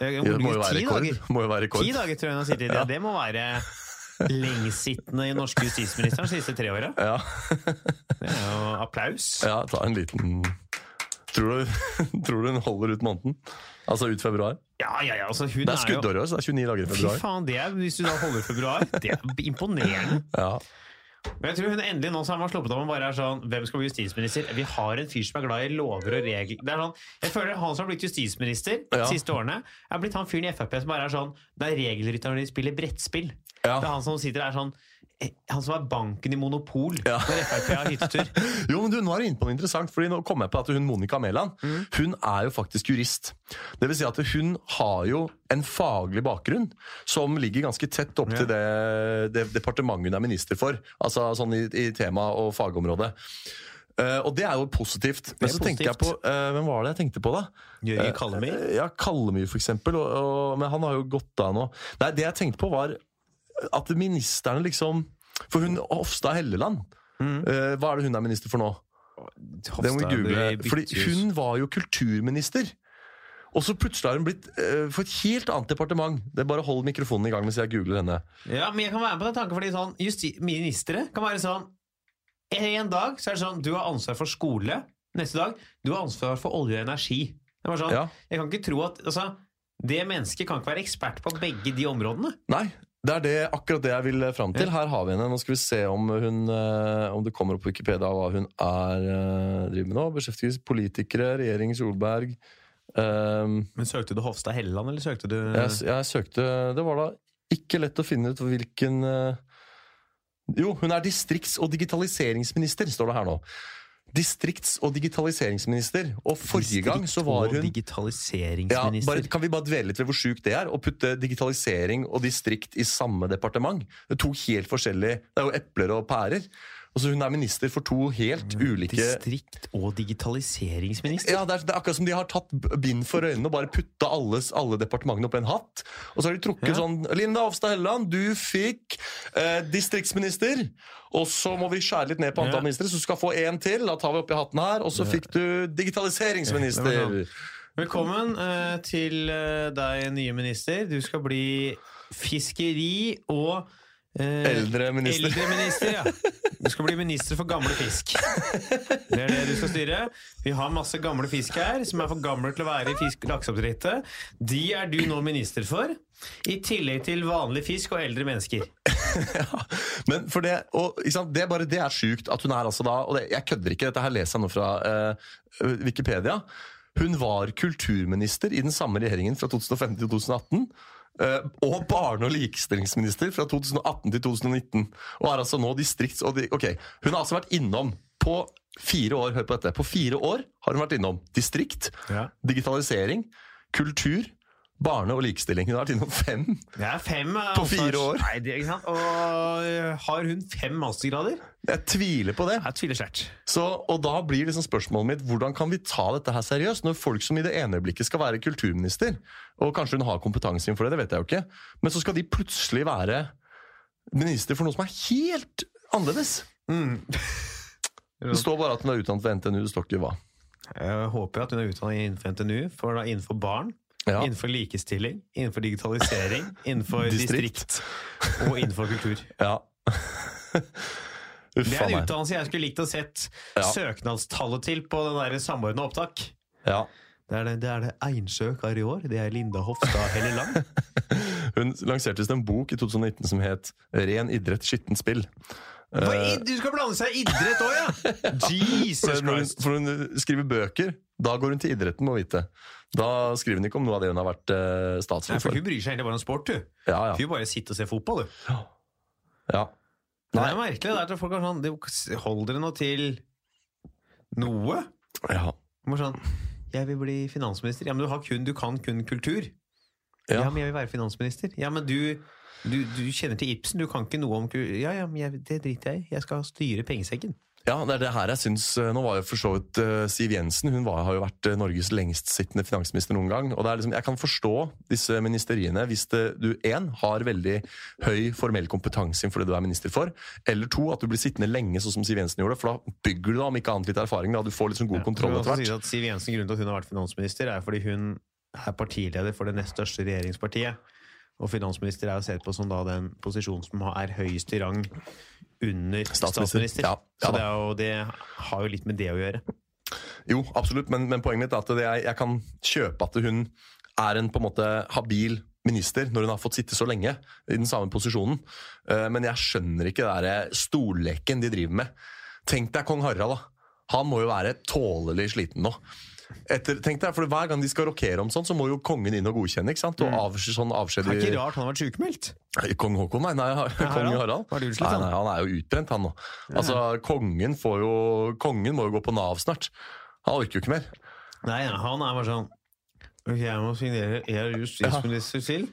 Speaker 2: Eh,
Speaker 3: Det må jo
Speaker 2: muligens
Speaker 3: være
Speaker 2: ti
Speaker 3: rekord.
Speaker 2: dager.
Speaker 3: Må jo være rekord.
Speaker 2: Ti dager tror jeg hun har sittet i. Ja, det må være lengsittende i norske justisministeren de siste tre åra.
Speaker 3: Ja.
Speaker 2: Det er jo applaus.
Speaker 3: ja, ta en liten Tror du, tror du hun holder ut måneden? Altså ut februar?
Speaker 2: Ja, ja, ja. Altså, hun
Speaker 3: Det
Speaker 2: er
Speaker 3: er
Speaker 2: jo
Speaker 3: skuddår i år, så det er 29 dager i
Speaker 2: Fy
Speaker 3: februar.
Speaker 2: faen, det er, hvis du da holder februar, det er imponerende.
Speaker 3: Ja.
Speaker 2: Men jeg tror hun endelig nå så har man sluppet av og bare er sånn Hvem skal bli justisminister? Vi har en fyr som er glad i lover og regler. Det er sånn, jeg føler Han som har blitt justisminister de
Speaker 3: Ja.
Speaker 2: siste årene, er blitt han fyren i Frp som bare er sånn Det er regelrytteren når de spiller brettspill.
Speaker 3: Ja.
Speaker 2: Det er han som sitter der sånn eh, Han som er banken i Monopol
Speaker 3: Ja.
Speaker 2: når Frp har hyttetur.
Speaker 3: Jo, men du, Nå er du inne på noe interessant. fordi nå kom jeg på at hun, Monica Mæland
Speaker 2: Mm.
Speaker 3: hun er jo faktisk jurist. Det vil si at hun har jo en faglig bakgrunn som ligger ganske tett opp til det, det departementet hun er minister for. Altså sånn i, i tema- og fagområdet. Eh, og det er jo positivt.
Speaker 2: Det
Speaker 3: Men
Speaker 2: er
Speaker 3: så tenkte jeg på
Speaker 2: positivt.
Speaker 3: eh, Hvem var det jeg tenkte på, da?
Speaker 2: Jørgen Kallemi.
Speaker 3: Eh, Ja, Kallemyr, for eksempel. Og, og, men han har jo gått av nå. Nei, det jeg tenkte på, var at ministerne liksom For hun Hofstad Helleland, eh, hva er det hun er minister for nå? Det må vi google.
Speaker 2: eh,
Speaker 3: Fordi hun var jo kulturminister. Og så plutselig har hun blitt eh, for et helt annet departement. Det er Bare hold mikrofonen i gang mens jeg googler henne.
Speaker 2: Ja, men jeg kan være med på den tanken, fordi sånn, justi- ministre kan være sånn En dag så er det sånn Du har ansvar for skole. Neste dag du har ansvar for olje og energi. Det var sånn,
Speaker 3: Ja.
Speaker 2: Jeg kan ikke tro at altså, Det mennesket kan ikke være ekspert på begge de områdene.
Speaker 3: Nei, det er det, akkurat det jeg vil eh, fram til. Her har vi henne. Nå skal vi se om, hun, eh, om det kommer opp på Wikipedia hva hun er eh, driver med nå. Beskjeftiges politikere, regjering Solberg Ehm,
Speaker 2: Men Søkte du Hofstad Helleland, eller søkte du
Speaker 3: jeg, jeg søkte Det var da ikke lett å finne ut hvilken eh, Jo, hun er distrikts- og digitaliseringsminister, står det her nå. Distrikts- og digitaliseringsminister. Og forrige gang så var hun ja, bare,
Speaker 2: digitaliseringsminister?
Speaker 3: kan vi bare dvele litt ved hvor sjukt det er? Å putte digitalisering og distrikt i samme departement? Det er to helt forskjellige Det er jo epler og pærer. Og så hun er minister for to helt ulike
Speaker 2: Mm, Distrikt- og digitaliseringsminister?
Speaker 3: ja, det er, det er akkurat som de har tatt b- bind for øynene og bare putta alle, s- alle departementene opp i en hatt. Og så har de trukket
Speaker 2: Ja.
Speaker 3: sånn Linda Hofstad Helleland, du fikk eh, distriktsminister. Og så må vi skjære litt ned på antall
Speaker 2: Ja.
Speaker 3: ministre, så du skal få én til. Da tar vi oppi hatten her. Og så fikk du digitaliseringsminister.
Speaker 2: Ja, det Velkommen eh, til eh, deg, nye minister. Du skal bli fiskeri og eh,
Speaker 3: Eldreminister.
Speaker 2: eldreminister, ja. Du skal bli minister for gamle fisk. Det er det du skal styre. Vi har masse gamle fisk her, som er for gamle til å være i fisk- lakseoppdrettet. De er du nå minister for, i tillegg til vanlig fisk og eldre mennesker.
Speaker 3: Men for det, og, ikke sant? det, er bare, det er sjukt at hun er altså da Og det, jeg kødder ikke, dette her leser jeg nå fra eh, Wikipedia. Hun var kulturminister i den samme regjeringen fra 2015 til 2018. eh, og barne- og likestillingsminister fra 2018 til 2019. Og er altså nå distrikts... Og di ok, hun har altså vært innom på fire år, hør på dette, på fire år har hun vært innom distrikt,
Speaker 2: Ja.
Speaker 3: digitalisering, kultur, barne- og likestilling. Hun har vært innom fem.
Speaker 2: Det er fem eh,
Speaker 3: På fire
Speaker 2: ansvars-
Speaker 3: år.
Speaker 2: Nei, det, ikke sant? Og eh, har hun fem mastergrader?
Speaker 3: Jeg tviler på det.
Speaker 2: Jeg tviler sterkt.
Speaker 3: Så, og da blir liksom spørsmålet mitt hvordan kan vi ta dette her seriøst når folk som i det ene øyeblikket skal være kulturminister, og kanskje hun har kompetanse innenfor det, det vet jeg jo ikke, men så skal de plutselig være minister for noe som er helt annerledes.
Speaker 2: Mm.
Speaker 3: Det står bare at hun er utdannet ved NTNU, det står ikke hva.
Speaker 2: Jeg håper at hun er utdannet innenfor NTNU, for da innenfor barn,
Speaker 3: Ja.
Speaker 2: innenfor likestilling, innenfor digitalisering, innenfor distrikt.
Speaker 3: Distrikt.
Speaker 2: og innenfor kultur.
Speaker 3: Ja. Uff
Speaker 2: Det
Speaker 3: a
Speaker 2: er en
Speaker 3: meg.
Speaker 2: utdannelse jeg skulle likt å sett
Speaker 3: Ja.
Speaker 2: søknadstallet til på den der samordna opptak.
Speaker 3: Ja.
Speaker 2: Det er det, det, er det Einsjøk har i år. Det er Linda Hofstad Helleland.
Speaker 3: Hun lanserte visst en bok i 2019 som het 'Ren idrett, skittent spill'.
Speaker 2: For id- Du skal blande seg i idrett òg, ja! Jesus
Speaker 3: For når hun,
Speaker 2: Christ.
Speaker 3: for når hun skriver bøker, da går hun til idretten, må vite. Da skriver hun ikke om noe av det hun har vært eh,
Speaker 2: Nei,
Speaker 3: statsråd
Speaker 2: for
Speaker 3: for.
Speaker 2: hun bryr seg egentlig bare om sport, du.
Speaker 3: Ja, ja.
Speaker 2: Hun bare sitter og ser fotball, du.
Speaker 3: ja.
Speaker 2: Det
Speaker 3: Nei.
Speaker 2: er merkelig. Det er at folk er sånn "Det- Hold dere nå til noe.
Speaker 3: ja.
Speaker 2: Hvor sånn Jeg vil bli finansminister. Ja, men du, har kun, du kan kun kultur. Ja.
Speaker 3: Ja.
Speaker 2: men jeg vil være finansminister. Ja, men du, du, du kjenner til Ibsen. Du kan ikke noe om kultur. Ja, ja, men jeg, det driter jeg i. Jeg skal styre pengesekken.
Speaker 3: Ja, det er det her jeg syns eh, Nå var jo for så vidt eh, Siv Jensen hun var, har jo vært eh, Norges lengstsittende finansminister noen gang. og det er liksom, Jeg kan forstå disse ministeriene hvis det, du en, har veldig høy formell kompetanse innenfor det du er minister for, eller to, at du blir sittende lenge, sånn som Siv Jensen gjorde. For da bygger du da, om ikke annet litt erfaring. da, Du får litt sånn god kontroll
Speaker 2: Jeg
Speaker 3: etter
Speaker 2: tror også si at
Speaker 3: hvert.
Speaker 2: Siv Jensen, grunnen til at hun har vært finansminister, er fordi hun er partileder for det nest største regjeringspartiet. Og finansminister er jo sett på som da den posisjonen som er høyest i rang under statsminister.
Speaker 3: Ja, ja
Speaker 2: Så
Speaker 3: da.
Speaker 2: det, er jo, det har jo litt med det å gjøre.
Speaker 3: Jo, absolutt, men, men poenget mitt er at det- jeg, jeg kan kjøpe at hun er en på en måte habil minister når hun har fått sitte så lenge i den samme posisjonen. Eh, Men jeg skjønner ikke det der stolleken de driver med. Tenk deg kong Harald, da. Han må jo være tålelig sliten nå. Etter, tenk deg, for Hver gang de skal rokere om sånn, så må jo kongen inn og godkjenne. ikke sant? Og avskjed, sånn avskjed
Speaker 2: Det Mm. er
Speaker 3: i-
Speaker 2: ikke rart han har vært sykemeldt.
Speaker 3: Nei, Kong Haakon, nei. nei kong
Speaker 2: Harald?
Speaker 3: Harald.
Speaker 2: Var det utslitt,
Speaker 3: nei,
Speaker 2: han?
Speaker 3: nei, han er jo utbrent, han nå. Altså, kongen, får jo, kongen må jo gå på Nav snart. Han orker jo ikke mer.
Speaker 2: Nei, nei, han er bare sånn Ok, jeg må signere. Jeg er justisminister til.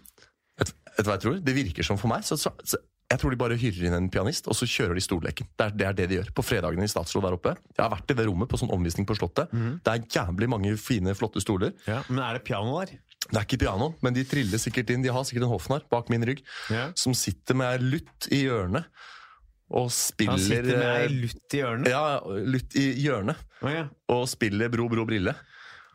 Speaker 3: Vet vet du hva jeg tror? Det virker som for meg. Så, så, så, jeg tror de bare hyrer inn en pianist, og så kjører de stolleken. Det er, det er det de gjør. På fredagene i Statsråd der oppe. Jeg har vært i det rommet på sånn omvisning på Slottet.
Speaker 2: Mhm.
Speaker 3: Det er jævlig mange fine, flotte stoler.
Speaker 2: Men er det piano der?
Speaker 3: Det er ikke piano, men de triller sikkert inn. De har sikkert en hoffnarr bak min rygg,
Speaker 2: Ja.
Speaker 3: som sitter med ei lutt i hjørnet og spiller
Speaker 2: Han sitter med ei
Speaker 3: eh,
Speaker 2: lutt i hjørnet.
Speaker 3: Ja, lutt i hjørnet.
Speaker 2: Å, ja.
Speaker 3: og spiller Bro, Bro, Brille.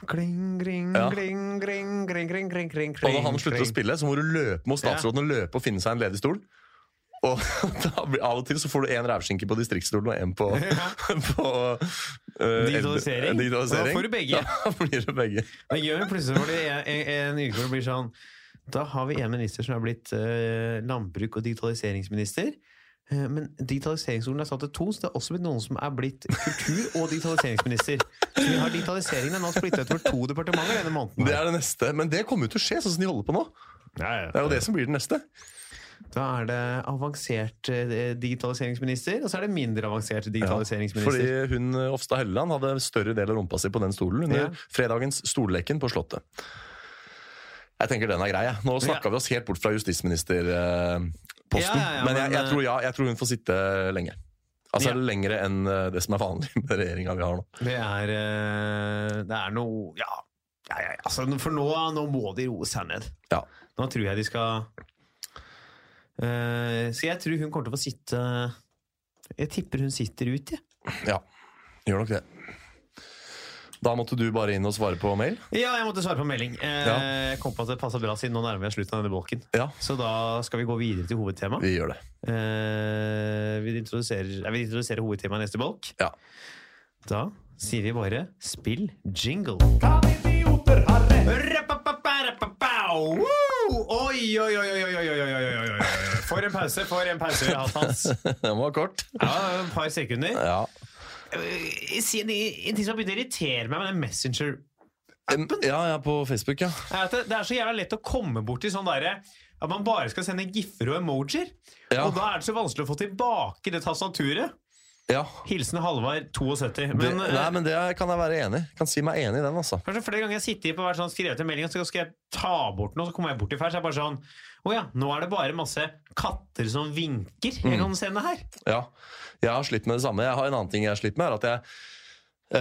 Speaker 2: Kling, kling,
Speaker 3: Ja.
Speaker 2: kling, kling, kling, kling, kling, kling,
Speaker 3: Og når han slutter å spille, så må du løpe mot statsråden og løpe og finne seg en ledig stol. Og da blir, av og til så får du én rævskinke på distriktsstolen og én på, på eh,
Speaker 2: Digitalisering?
Speaker 3: eldre-
Speaker 2: Da
Speaker 3: digitalisering.
Speaker 2: får du begge.
Speaker 3: Da blir det begge.
Speaker 2: Det gjør vi plutselig fordi en, en, en yrkesgård blir sånn Da har vi en minister som er blitt eh, landbruk- og digitaliseringsminister. Eh, Men digitaliseringsorden er satt til to, så det er også blitt noen som er blitt kultur- og digitaliseringsminister. Så vi har digitaliseringen er nå splittet over to departementer denne måneden.
Speaker 3: Det er det neste. Men det kommer jo til å skje, sånn som de holder på nå. Det er jo det som blir den neste.
Speaker 2: Da er det avansert eh, digitaliseringsminister, og så er det mindre avansert digitaliseringsminister.
Speaker 3: Fordi hun eh, Hofstad Helleland hadde større del av rumpa si på den stolen under
Speaker 2: Ja.
Speaker 3: fredagens stolleken på Slottet. Jeg tenker den er grei. jeg. Nå snakka
Speaker 2: Ja.
Speaker 3: vi oss helt bort fra justisministerposten.
Speaker 2: Ja, ja, ja,
Speaker 3: men jeg,
Speaker 2: men, eh,
Speaker 3: jeg, tror, ja, jeg tror hun får sitte lenge. Altså
Speaker 2: Ja.
Speaker 3: lengre enn eh, det som er vanlig med regjeringa vi har nå.
Speaker 2: Det er eh, Det er noe Ja. ja, ja, ja. Altså, for nå, nå må de roe seg ned.
Speaker 3: Ja.
Speaker 2: Nå tror jeg de skal Eh, Så jeg tror hun kommer til å få sitte Jeg tipper hun sitter ut, jeg.
Speaker 3: ja. Gjør nok det. Da måtte du bare inn og svare på mail.
Speaker 2: Ja, jeg måtte svare på en melding. Eh,
Speaker 3: Ja.
Speaker 2: Jeg kom på at det passa bra, siden nå nærmer vi oss slutten av denne bolken.
Speaker 3: Ja,
Speaker 2: Så da skal vi gå videre til hovedtemaet.
Speaker 3: vi gjør det.
Speaker 2: Eh, vi, introduserer, eh, vi introduserer hovedtemaet i neste bolk.
Speaker 3: Ja.
Speaker 2: Da sier vi bare spill jingle. Rappapaparappapau! Woo! Oi, oi, oi, oi, oi, oi, oi, oi, oi, oi, oi. For en pause, for en pause vi har hatt, Hans.
Speaker 3: Den var kort.
Speaker 2: Ja, et par sekunder.
Speaker 3: Ja.
Speaker 2: Eh, si En en ting som har begynt å irritere meg med den Messenger,
Speaker 3: Em, Ja, jeg er på Facebook, ja.
Speaker 2: er at det, det er så jævla lett å komme borti sånn derre at man bare skal sende giffer og emojier.
Speaker 3: Ja.
Speaker 2: Og da er det så vanskelig å få tilbake det tastaturet.
Speaker 3: ja.
Speaker 2: Hilsen Halvard 72.
Speaker 3: Det,
Speaker 2: Men, eh,
Speaker 3: nei, men det kan jeg være enig i. Kan si meg enig i den, altså.
Speaker 2: Kanskje flere ganger jeg sitter på hver sånn skrevet en melding, og så skal jeg ta bort noe, så kommer jeg bort i feil, så er jeg bare sånn Å ja, nå er det bare masse katter som vinker
Speaker 3: Mm.
Speaker 2: jeg kan sende her.
Speaker 3: Ja, jeg har slitt med det samme. Jeg har En annen ting jeg har slitt med, er at jeg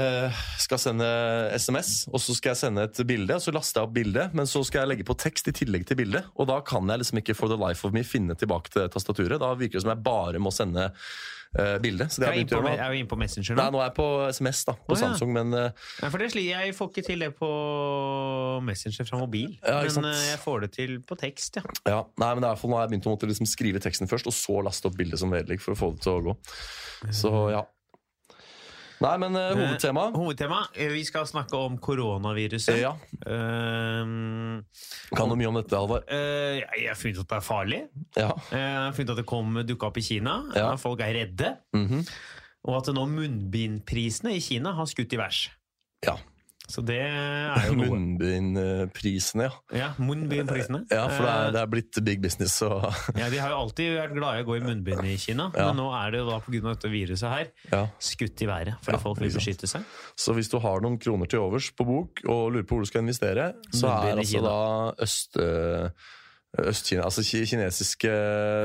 Speaker 3: eh, skal sende SMS, og så skal jeg sende et bilde, og så laster jeg opp bildet, men så skal jeg legge på tekst i tillegg til bildet, og da kan jeg liksom ikke for the life of me finne tilbake til tastaturet. Da virker det som jeg bare må sende eh, bilde. Så det har
Speaker 2: Jeg er
Speaker 3: jeg begynt å gjøre nå.
Speaker 2: inne på Messenger
Speaker 3: Nei,
Speaker 2: nå.
Speaker 3: nå er jeg på SMS da, på
Speaker 2: Å, ja.
Speaker 3: Samsung, men eh,
Speaker 2: Nei, for det sli, jeg får ikke til det på Messenger fra mobil,
Speaker 3: Ja, ikke sant.
Speaker 2: men eh, jeg får det til på tekst, ja.
Speaker 3: ja. Nei, men det er i hvert fall nå har jeg begynt å måtte liksom skrive teksten først, og så laste opp bildet som vedlegg for å få det til å gå. Så ja. Nei, men eh, hovedtema
Speaker 2: Hovedtema, eh, vi skal snakke om koronaviruset.
Speaker 3: Ja,
Speaker 2: Ehm,
Speaker 3: kan du mye om dette, Halvard?
Speaker 2: eh, jeg har funnet ut at det er farlig.
Speaker 3: Ja.
Speaker 2: Eh, Jeg har funnet ut at det kom dukket opp i Kina.
Speaker 3: Ja.
Speaker 2: at Folk er redde.
Speaker 3: Mhm.
Speaker 2: Og at nå munnbindprisene i Kina har skutt i værs.
Speaker 3: Ja.
Speaker 2: Så det er jo noe.
Speaker 3: Munnbindprisene, ja.
Speaker 2: Ja, munnbindprisene.
Speaker 3: ja. For det er, det er blitt big business. Og,
Speaker 2: Eh, ja, de har jo alltid vært glade i å gå i munnbind i Kina,
Speaker 3: Ja.
Speaker 2: men nå er det jo da pga. dette viruset her
Speaker 3: ja.
Speaker 2: skutt i været for
Speaker 3: Ja,
Speaker 2: at folk vil
Speaker 3: ikke sant.
Speaker 2: beskytte seg.
Speaker 3: Så hvis du har noen kroner til overs på bok og lurer på hvor du skal investere, så
Speaker 2: Munnbind i
Speaker 3: er altså
Speaker 2: Kina.
Speaker 3: da øst... eh, Øst-Kina, altså ki- kinesiske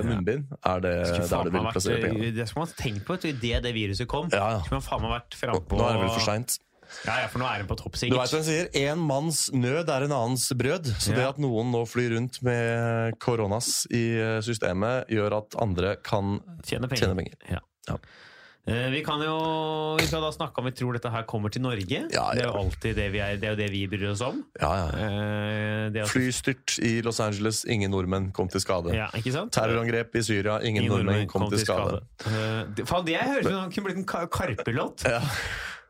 Speaker 3: munnbind, Eh, er det
Speaker 2: Skulle
Speaker 3: der
Speaker 2: faen
Speaker 3: du
Speaker 2: meg
Speaker 3: vil
Speaker 2: vært, eh,
Speaker 3: plassere pengene?
Speaker 2: det skulle man tenkt på vet du, idet det viruset kom.
Speaker 3: Ja, ja.
Speaker 2: Skulle man faen meg vært
Speaker 3: Nå
Speaker 2: frampå
Speaker 3: nå er det vel for seint.
Speaker 2: Ja, ja, for nå er den på topp,
Speaker 3: Du
Speaker 2: sikkert.
Speaker 3: veit hva en sier? Én manns nød er en annens brød. Så det
Speaker 2: Ja.
Speaker 3: at noen nå flyr rundt med koronas i eh, systemet, gjør at andre kan
Speaker 2: Tjene penger.
Speaker 3: tjene penger.
Speaker 2: Ja.
Speaker 3: Ja.
Speaker 2: Eh, Vi kan jo vi skal da snakke om vi tror dette her kommer til Norge.
Speaker 3: ja.
Speaker 2: Det er jo alltid det vi, er, det er jo det vi bryr oss om.
Speaker 3: Ja, ja.
Speaker 2: Eh, Det er også,
Speaker 3: Flystyrt i Los Angeles, ingen nordmenn kom til skade.
Speaker 2: ja, ikke sant?
Speaker 3: Terrorangrep i Syria, ingen,
Speaker 2: Ingen
Speaker 3: nordmenn, kom, til skade.
Speaker 2: Eh, det- Faen, det høres ut som det kunne blitt en Ka- Karpe-låt.
Speaker 3: Ja.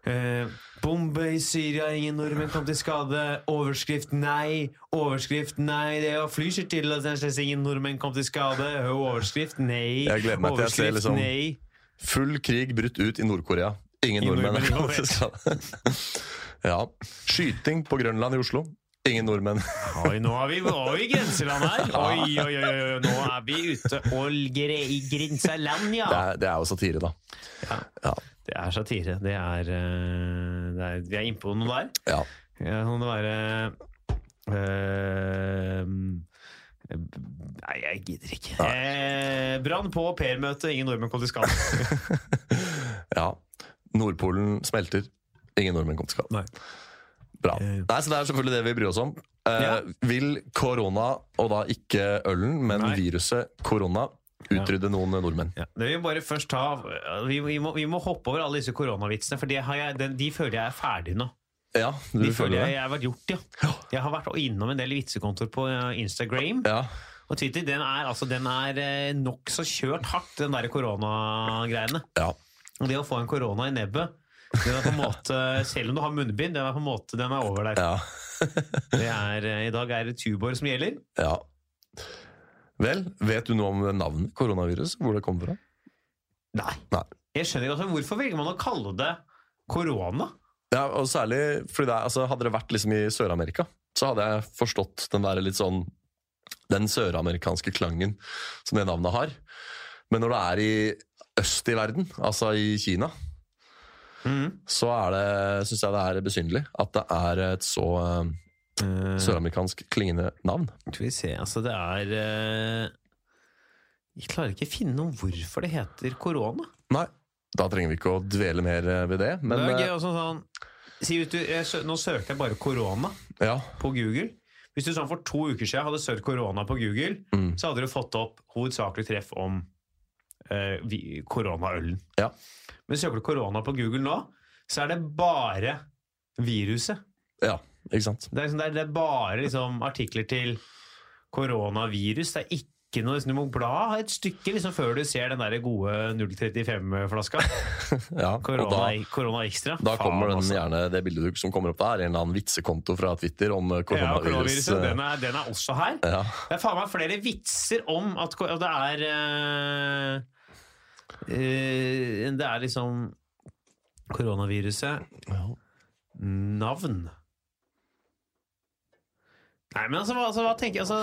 Speaker 2: Eh, bombe i Syria, ingen nordmenn kom til skade. Overskrift nei. Overskrift nei. Det å fly seg til Los Angeles, ingen nordmenn kom til skade. Overskrift nei.
Speaker 3: Jeg gleder meg til jeg ser
Speaker 2: Overskrift
Speaker 3: liksom-
Speaker 2: nei.
Speaker 3: Full krig brutt ut i Nord-Korea. Ingen
Speaker 2: Ingen
Speaker 3: nordmenn
Speaker 2: nordmenn
Speaker 3: kom til skade. ja. Skyting på Grønland i Oslo. Ingen nordmenn.
Speaker 2: Oi, nå er vi, nå er vi i grenseland her! Oi, oi, oi, oi, oi, nå er vi ute og gre i grenseland, ja!
Speaker 3: Det er, det er jo satire, da.
Speaker 2: Ja.
Speaker 3: Ja.
Speaker 2: Det er satire. Det er, eh, det er Vi er innpå noe der.
Speaker 3: ja.
Speaker 2: Ja, kan det være eh, Nei, jeg gidder ikke. Eh, Brann på au-pair-møte, ingen nordmenn kom til skade.
Speaker 3: ja. Nordpolen smelter. Ingen nordmenn kom til skade.
Speaker 2: Nei.
Speaker 3: Bra.
Speaker 2: Eh.
Speaker 3: Nei, så Det er selvfølgelig det vi bryr oss om. Eh,
Speaker 2: Ja.
Speaker 3: Vil korona, og da ikke ølen, men
Speaker 2: Nei.
Speaker 3: viruset korona, utrydde noen nordmenn?
Speaker 2: Ja. Det vil vi bare først ta vi, vi, må, vi må hoppe over alle disse koronavitsene, for det har jeg, den, de føler jeg er ferdig nå.
Speaker 3: Ja, du
Speaker 2: De føler
Speaker 3: føler
Speaker 2: jeg,
Speaker 3: det?
Speaker 2: jeg har vært gjort, ja. Jeg har vært innom en del vitsekontoer på eh, Instagram.
Speaker 3: Ja.
Speaker 2: Og Twitter den er, altså, den er eh, nokså kjørt hardt, den der koronagreiene.
Speaker 3: ja.
Speaker 2: Og det å få en korona i nebbet den er på en måte, Selv om du har munnbind, den er på en måte den er over der.
Speaker 3: Ja.
Speaker 2: Det er, eh, I dag er det Tuborg som gjelder.
Speaker 3: ja. Vel, vet du noe om navnet koronavirus? Hvor det kommer fra?
Speaker 2: Nei.
Speaker 3: Nei.
Speaker 2: Jeg skjønner ikke, altså, Hvorfor velger man å kalle det korona?
Speaker 3: Ja, og særlig fordi det er, altså, Hadde det vært liksom i Sør-Amerika, så hadde jeg forstått den der litt sånn Den søramerikanske klangen som det navnet har. Men når det er i øst i verden, altså i Kina,
Speaker 2: Mhm.
Speaker 3: så er det, syns jeg det er besynderlig at det er et så eh,
Speaker 2: Eh,
Speaker 3: søramerikansk klingende navn.
Speaker 2: Skal vi se, altså det er eh, Jeg klarer ikke finne noe hvorfor det heter korona.
Speaker 3: Nei, da trenger vi ikke å dvele mer eh, ved det. Men
Speaker 2: det er
Speaker 3: eh,
Speaker 2: gøy også sånn si, vet du, jeg, sø- Nå søkte jeg bare korona
Speaker 3: eh, ja,
Speaker 2: på Google. Hvis du sånn for to uker siden hadde søkt korona på Google,
Speaker 3: Mm.
Speaker 2: så hadde du fått opp hovedsakelig treff om eh, vi- koronaølen.
Speaker 3: Ja.
Speaker 2: Men søker du korona på Google nå, så er det bare viruset.
Speaker 3: ja, ikke sant.
Speaker 2: Det er, liksom, det er, det er bare liksom, artikler til koronavirus. Det er ikke noe liksom, Du må bla et stykke liksom, før du ser den der gode 035-flaska.
Speaker 3: Ja, og
Speaker 2: Korona,
Speaker 3: da-
Speaker 2: korona ekstra.
Speaker 3: Da kommer den
Speaker 2: altså.
Speaker 3: gjerne det bildet du- som kommer opp der, en eller annen vitsekonto fra Twitter om eh,
Speaker 2: Ja,
Speaker 3: koronavirus.
Speaker 2: koronaviruset. Den er, den er også her.
Speaker 3: Ja,
Speaker 2: Det er faen meg flere vitser om at ko- og det er eh, eh, Det er liksom koronaviruset Navn. Nei, men altså, hva- altså, hva tenker jeg? Altså,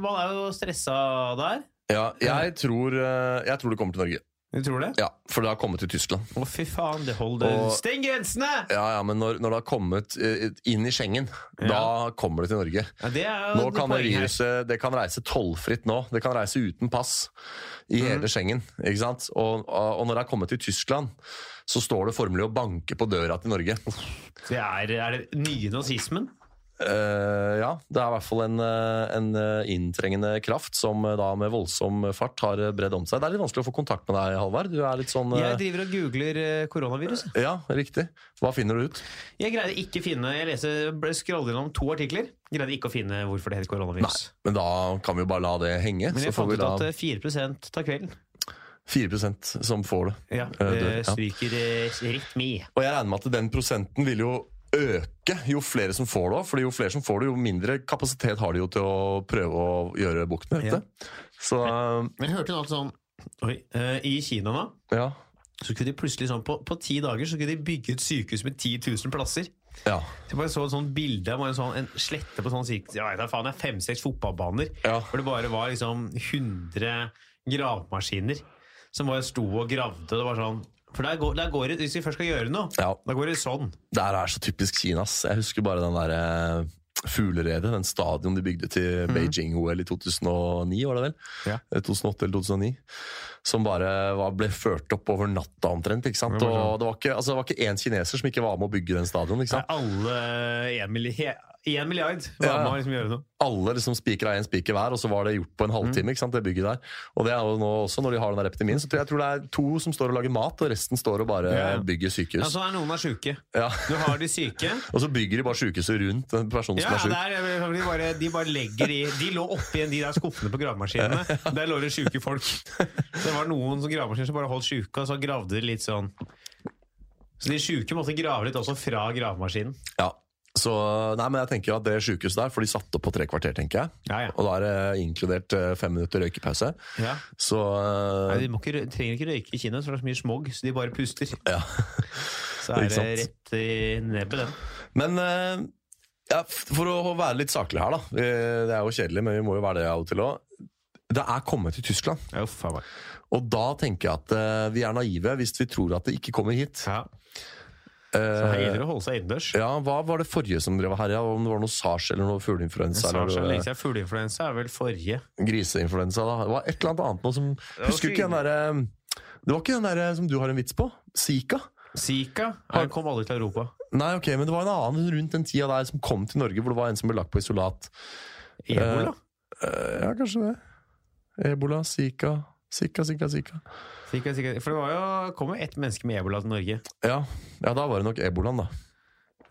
Speaker 2: man er jo stressa der.
Speaker 3: ja jeg, tror, eh, jeg tror det kommer til Norge.
Speaker 2: Du tror det?
Speaker 3: Ja, For det har kommet til Tyskland.
Speaker 2: Å, fy faen, det holder.
Speaker 3: Og-
Speaker 2: Steng grensene!
Speaker 3: Ja, ja, Men når, når det har kommet eh, inn i Schengen,
Speaker 2: Ja.
Speaker 3: da kommer det til Norge.
Speaker 2: Ja, det er jo
Speaker 3: Nå
Speaker 2: det
Speaker 3: kan det
Speaker 2: poenget her.
Speaker 3: viruset det kan reise tollfritt nå. Det kan reise uten pass i
Speaker 2: Mm.
Speaker 3: hele Schengen. ikke sant? Og, og når det har kommet til Tyskland, så står det formelig og banker på døra til Norge.
Speaker 2: Det er, er det nye nazismen?
Speaker 3: Eh, ja, det er i hvert fall en, eh, en eh, inntrengende kraft som eh, da med voldsom fart har eh, bredd om seg. Det er litt vanskelig å få kontakt med deg, Halvard. Du er litt sånn eh,
Speaker 2: Jeg driver og googler eh, koronavirus.
Speaker 3: Ja, riktig. Hva finner du ut?
Speaker 2: Jeg greide ikke å finne Jeg leser, ble- scroller gjennom to artikler. Greide ikke å finne hvorfor det heter koronavirus.
Speaker 3: Men da kan vi jo bare la det henge.
Speaker 2: Men
Speaker 3: Så
Speaker 2: jeg
Speaker 3: får
Speaker 2: fant
Speaker 3: vi
Speaker 2: ut
Speaker 3: da
Speaker 2: at eh, 4 tar kvelden.
Speaker 3: 4 som får det.
Speaker 2: Ja,
Speaker 3: Eh,
Speaker 2: det
Speaker 3: dør, ja.
Speaker 2: stryker eh, rett med.
Speaker 3: Og jeg regner med at den prosenten vil jo øke jo flere som får det. Fordi jo flere som får det, jo mindre kapasitet har de jo til å prøve å gjøre bukt med dette. Så eh,
Speaker 2: Men jeg hørte noe sånn Oi, eh, I Kina nå
Speaker 3: ja.
Speaker 2: så skulle de plutselig sånn, på, på ti dager så skulle de bygge et sykehus med 10 000 plasser.
Speaker 3: Ja.
Speaker 2: Så jeg bare så et sånt bilde av bare en, sånn, en slette på sånn cirka, jeg vet da faen, det er fem-seks fotballbaner.
Speaker 3: Ja.
Speaker 2: Hvor det bare var liksom 100 gravemaskiner som bare sto og gravde. Det var sånn, for der går, der går det, Hvis vi først skal gjøre noe,
Speaker 3: ja.
Speaker 2: da går det sånn.
Speaker 3: Det her er så typisk Kina, ass. Jeg husker bare den derre fugleredet, den stadion de bygde til Beijing-OL i 2009, var det vel?
Speaker 1: Mhm. Ja.
Speaker 3: Eh, 2008 eller 2009. Som bare var, ble ført opp over natta omtrent. ikke sant?
Speaker 1: Det var sånn.
Speaker 3: Og det var ikke, altså, det var ikke én kineser som ikke var med å bygge den stadion. ikke sant?
Speaker 1: Alle én milliard, milliard var
Speaker 3: Ja.
Speaker 1: med å liksom gjøre noe.
Speaker 3: alle liksom spikra én spiker hver, og så var det gjort på en
Speaker 1: Mhm.
Speaker 3: halvtime. ikke sant, det bygget der. Og det er jo nå også, når de har den der epidemien, så tror jeg- jeg tror det er to som står og lager mat, og resten står og bare
Speaker 1: Ja, ja.
Speaker 3: bygger sykehus.
Speaker 2: Altså, er noen er syke.
Speaker 3: ja.
Speaker 2: Du har de syke.
Speaker 3: Og så bygger de bare sykehuset rundt den personen
Speaker 2: Ja,
Speaker 3: som
Speaker 2: ja,
Speaker 3: er syk.
Speaker 2: der, eh, de, bare, de bare legger i De lå oppi en- de der skuffene på gravemaskinene. Der lå det sjuke folk. Det var noen som gravemaskiner som bare holdt sjuke, og så gravde de litt sånn Så de sjuke måtte grave litt også fra gravemaskinen.
Speaker 3: Ja. Så nei, men jeg tenker jo at det sykehuset der, for de satte opp på tre kvarter, tenker jeg.
Speaker 2: Ja, ja.
Speaker 3: Og da er det inkludert eh, fem minutter røykepause.
Speaker 2: ja.
Speaker 3: Så
Speaker 2: Nei,
Speaker 3: eh,
Speaker 2: de må ikke, rø- trenger ikke røyke i Kina, for det er så mye smog, så de bare puster.
Speaker 3: Ja.
Speaker 2: Så er
Speaker 3: Ikke
Speaker 2: det
Speaker 3: sant?
Speaker 2: rett i nebbet, den.
Speaker 3: Men eh, ja, f- for å være litt saklig her, da. Eh, Det er jo kjedelig, men vi må jo være det av og til òg. Det er kommet til Tyskland.
Speaker 2: Ja, uff, faen meg.
Speaker 3: Og da tenker jeg at eh, vi er naive hvis vi tror at det ikke kommer hit.
Speaker 2: Ja. Så her
Speaker 3: Eh,
Speaker 2: gjelder det å holde seg innendørs.
Speaker 3: ja, Hva var det forrige som drev herja? Om det var noe sars eller noe fugleinfluensa?
Speaker 2: Snart så
Speaker 3: Eller
Speaker 2: lenge
Speaker 3: eh,
Speaker 2: siden fugleinfluensa er vel forrige.
Speaker 3: griseinfluensa? Da. Det var et eller annet annet noe som
Speaker 2: var
Speaker 3: Husker du ikke den derre Det var ikke den derre som du har en vits på? Zika?
Speaker 2: Zika her kom aldri til Europa.
Speaker 3: Nei, ok, men det var en annen rundt den tida der som kom til Norge, hvor det var en som ble lagt på isolat.
Speaker 2: Ebola?
Speaker 3: Eh, ja, kanskje det. Ebola, zika, zika, zika, zika.
Speaker 2: Zika, Zika. For det var jo, kom jo ett menneske med ebola til Norge.
Speaker 3: Ja, ja, da var det nok ebolaen, da.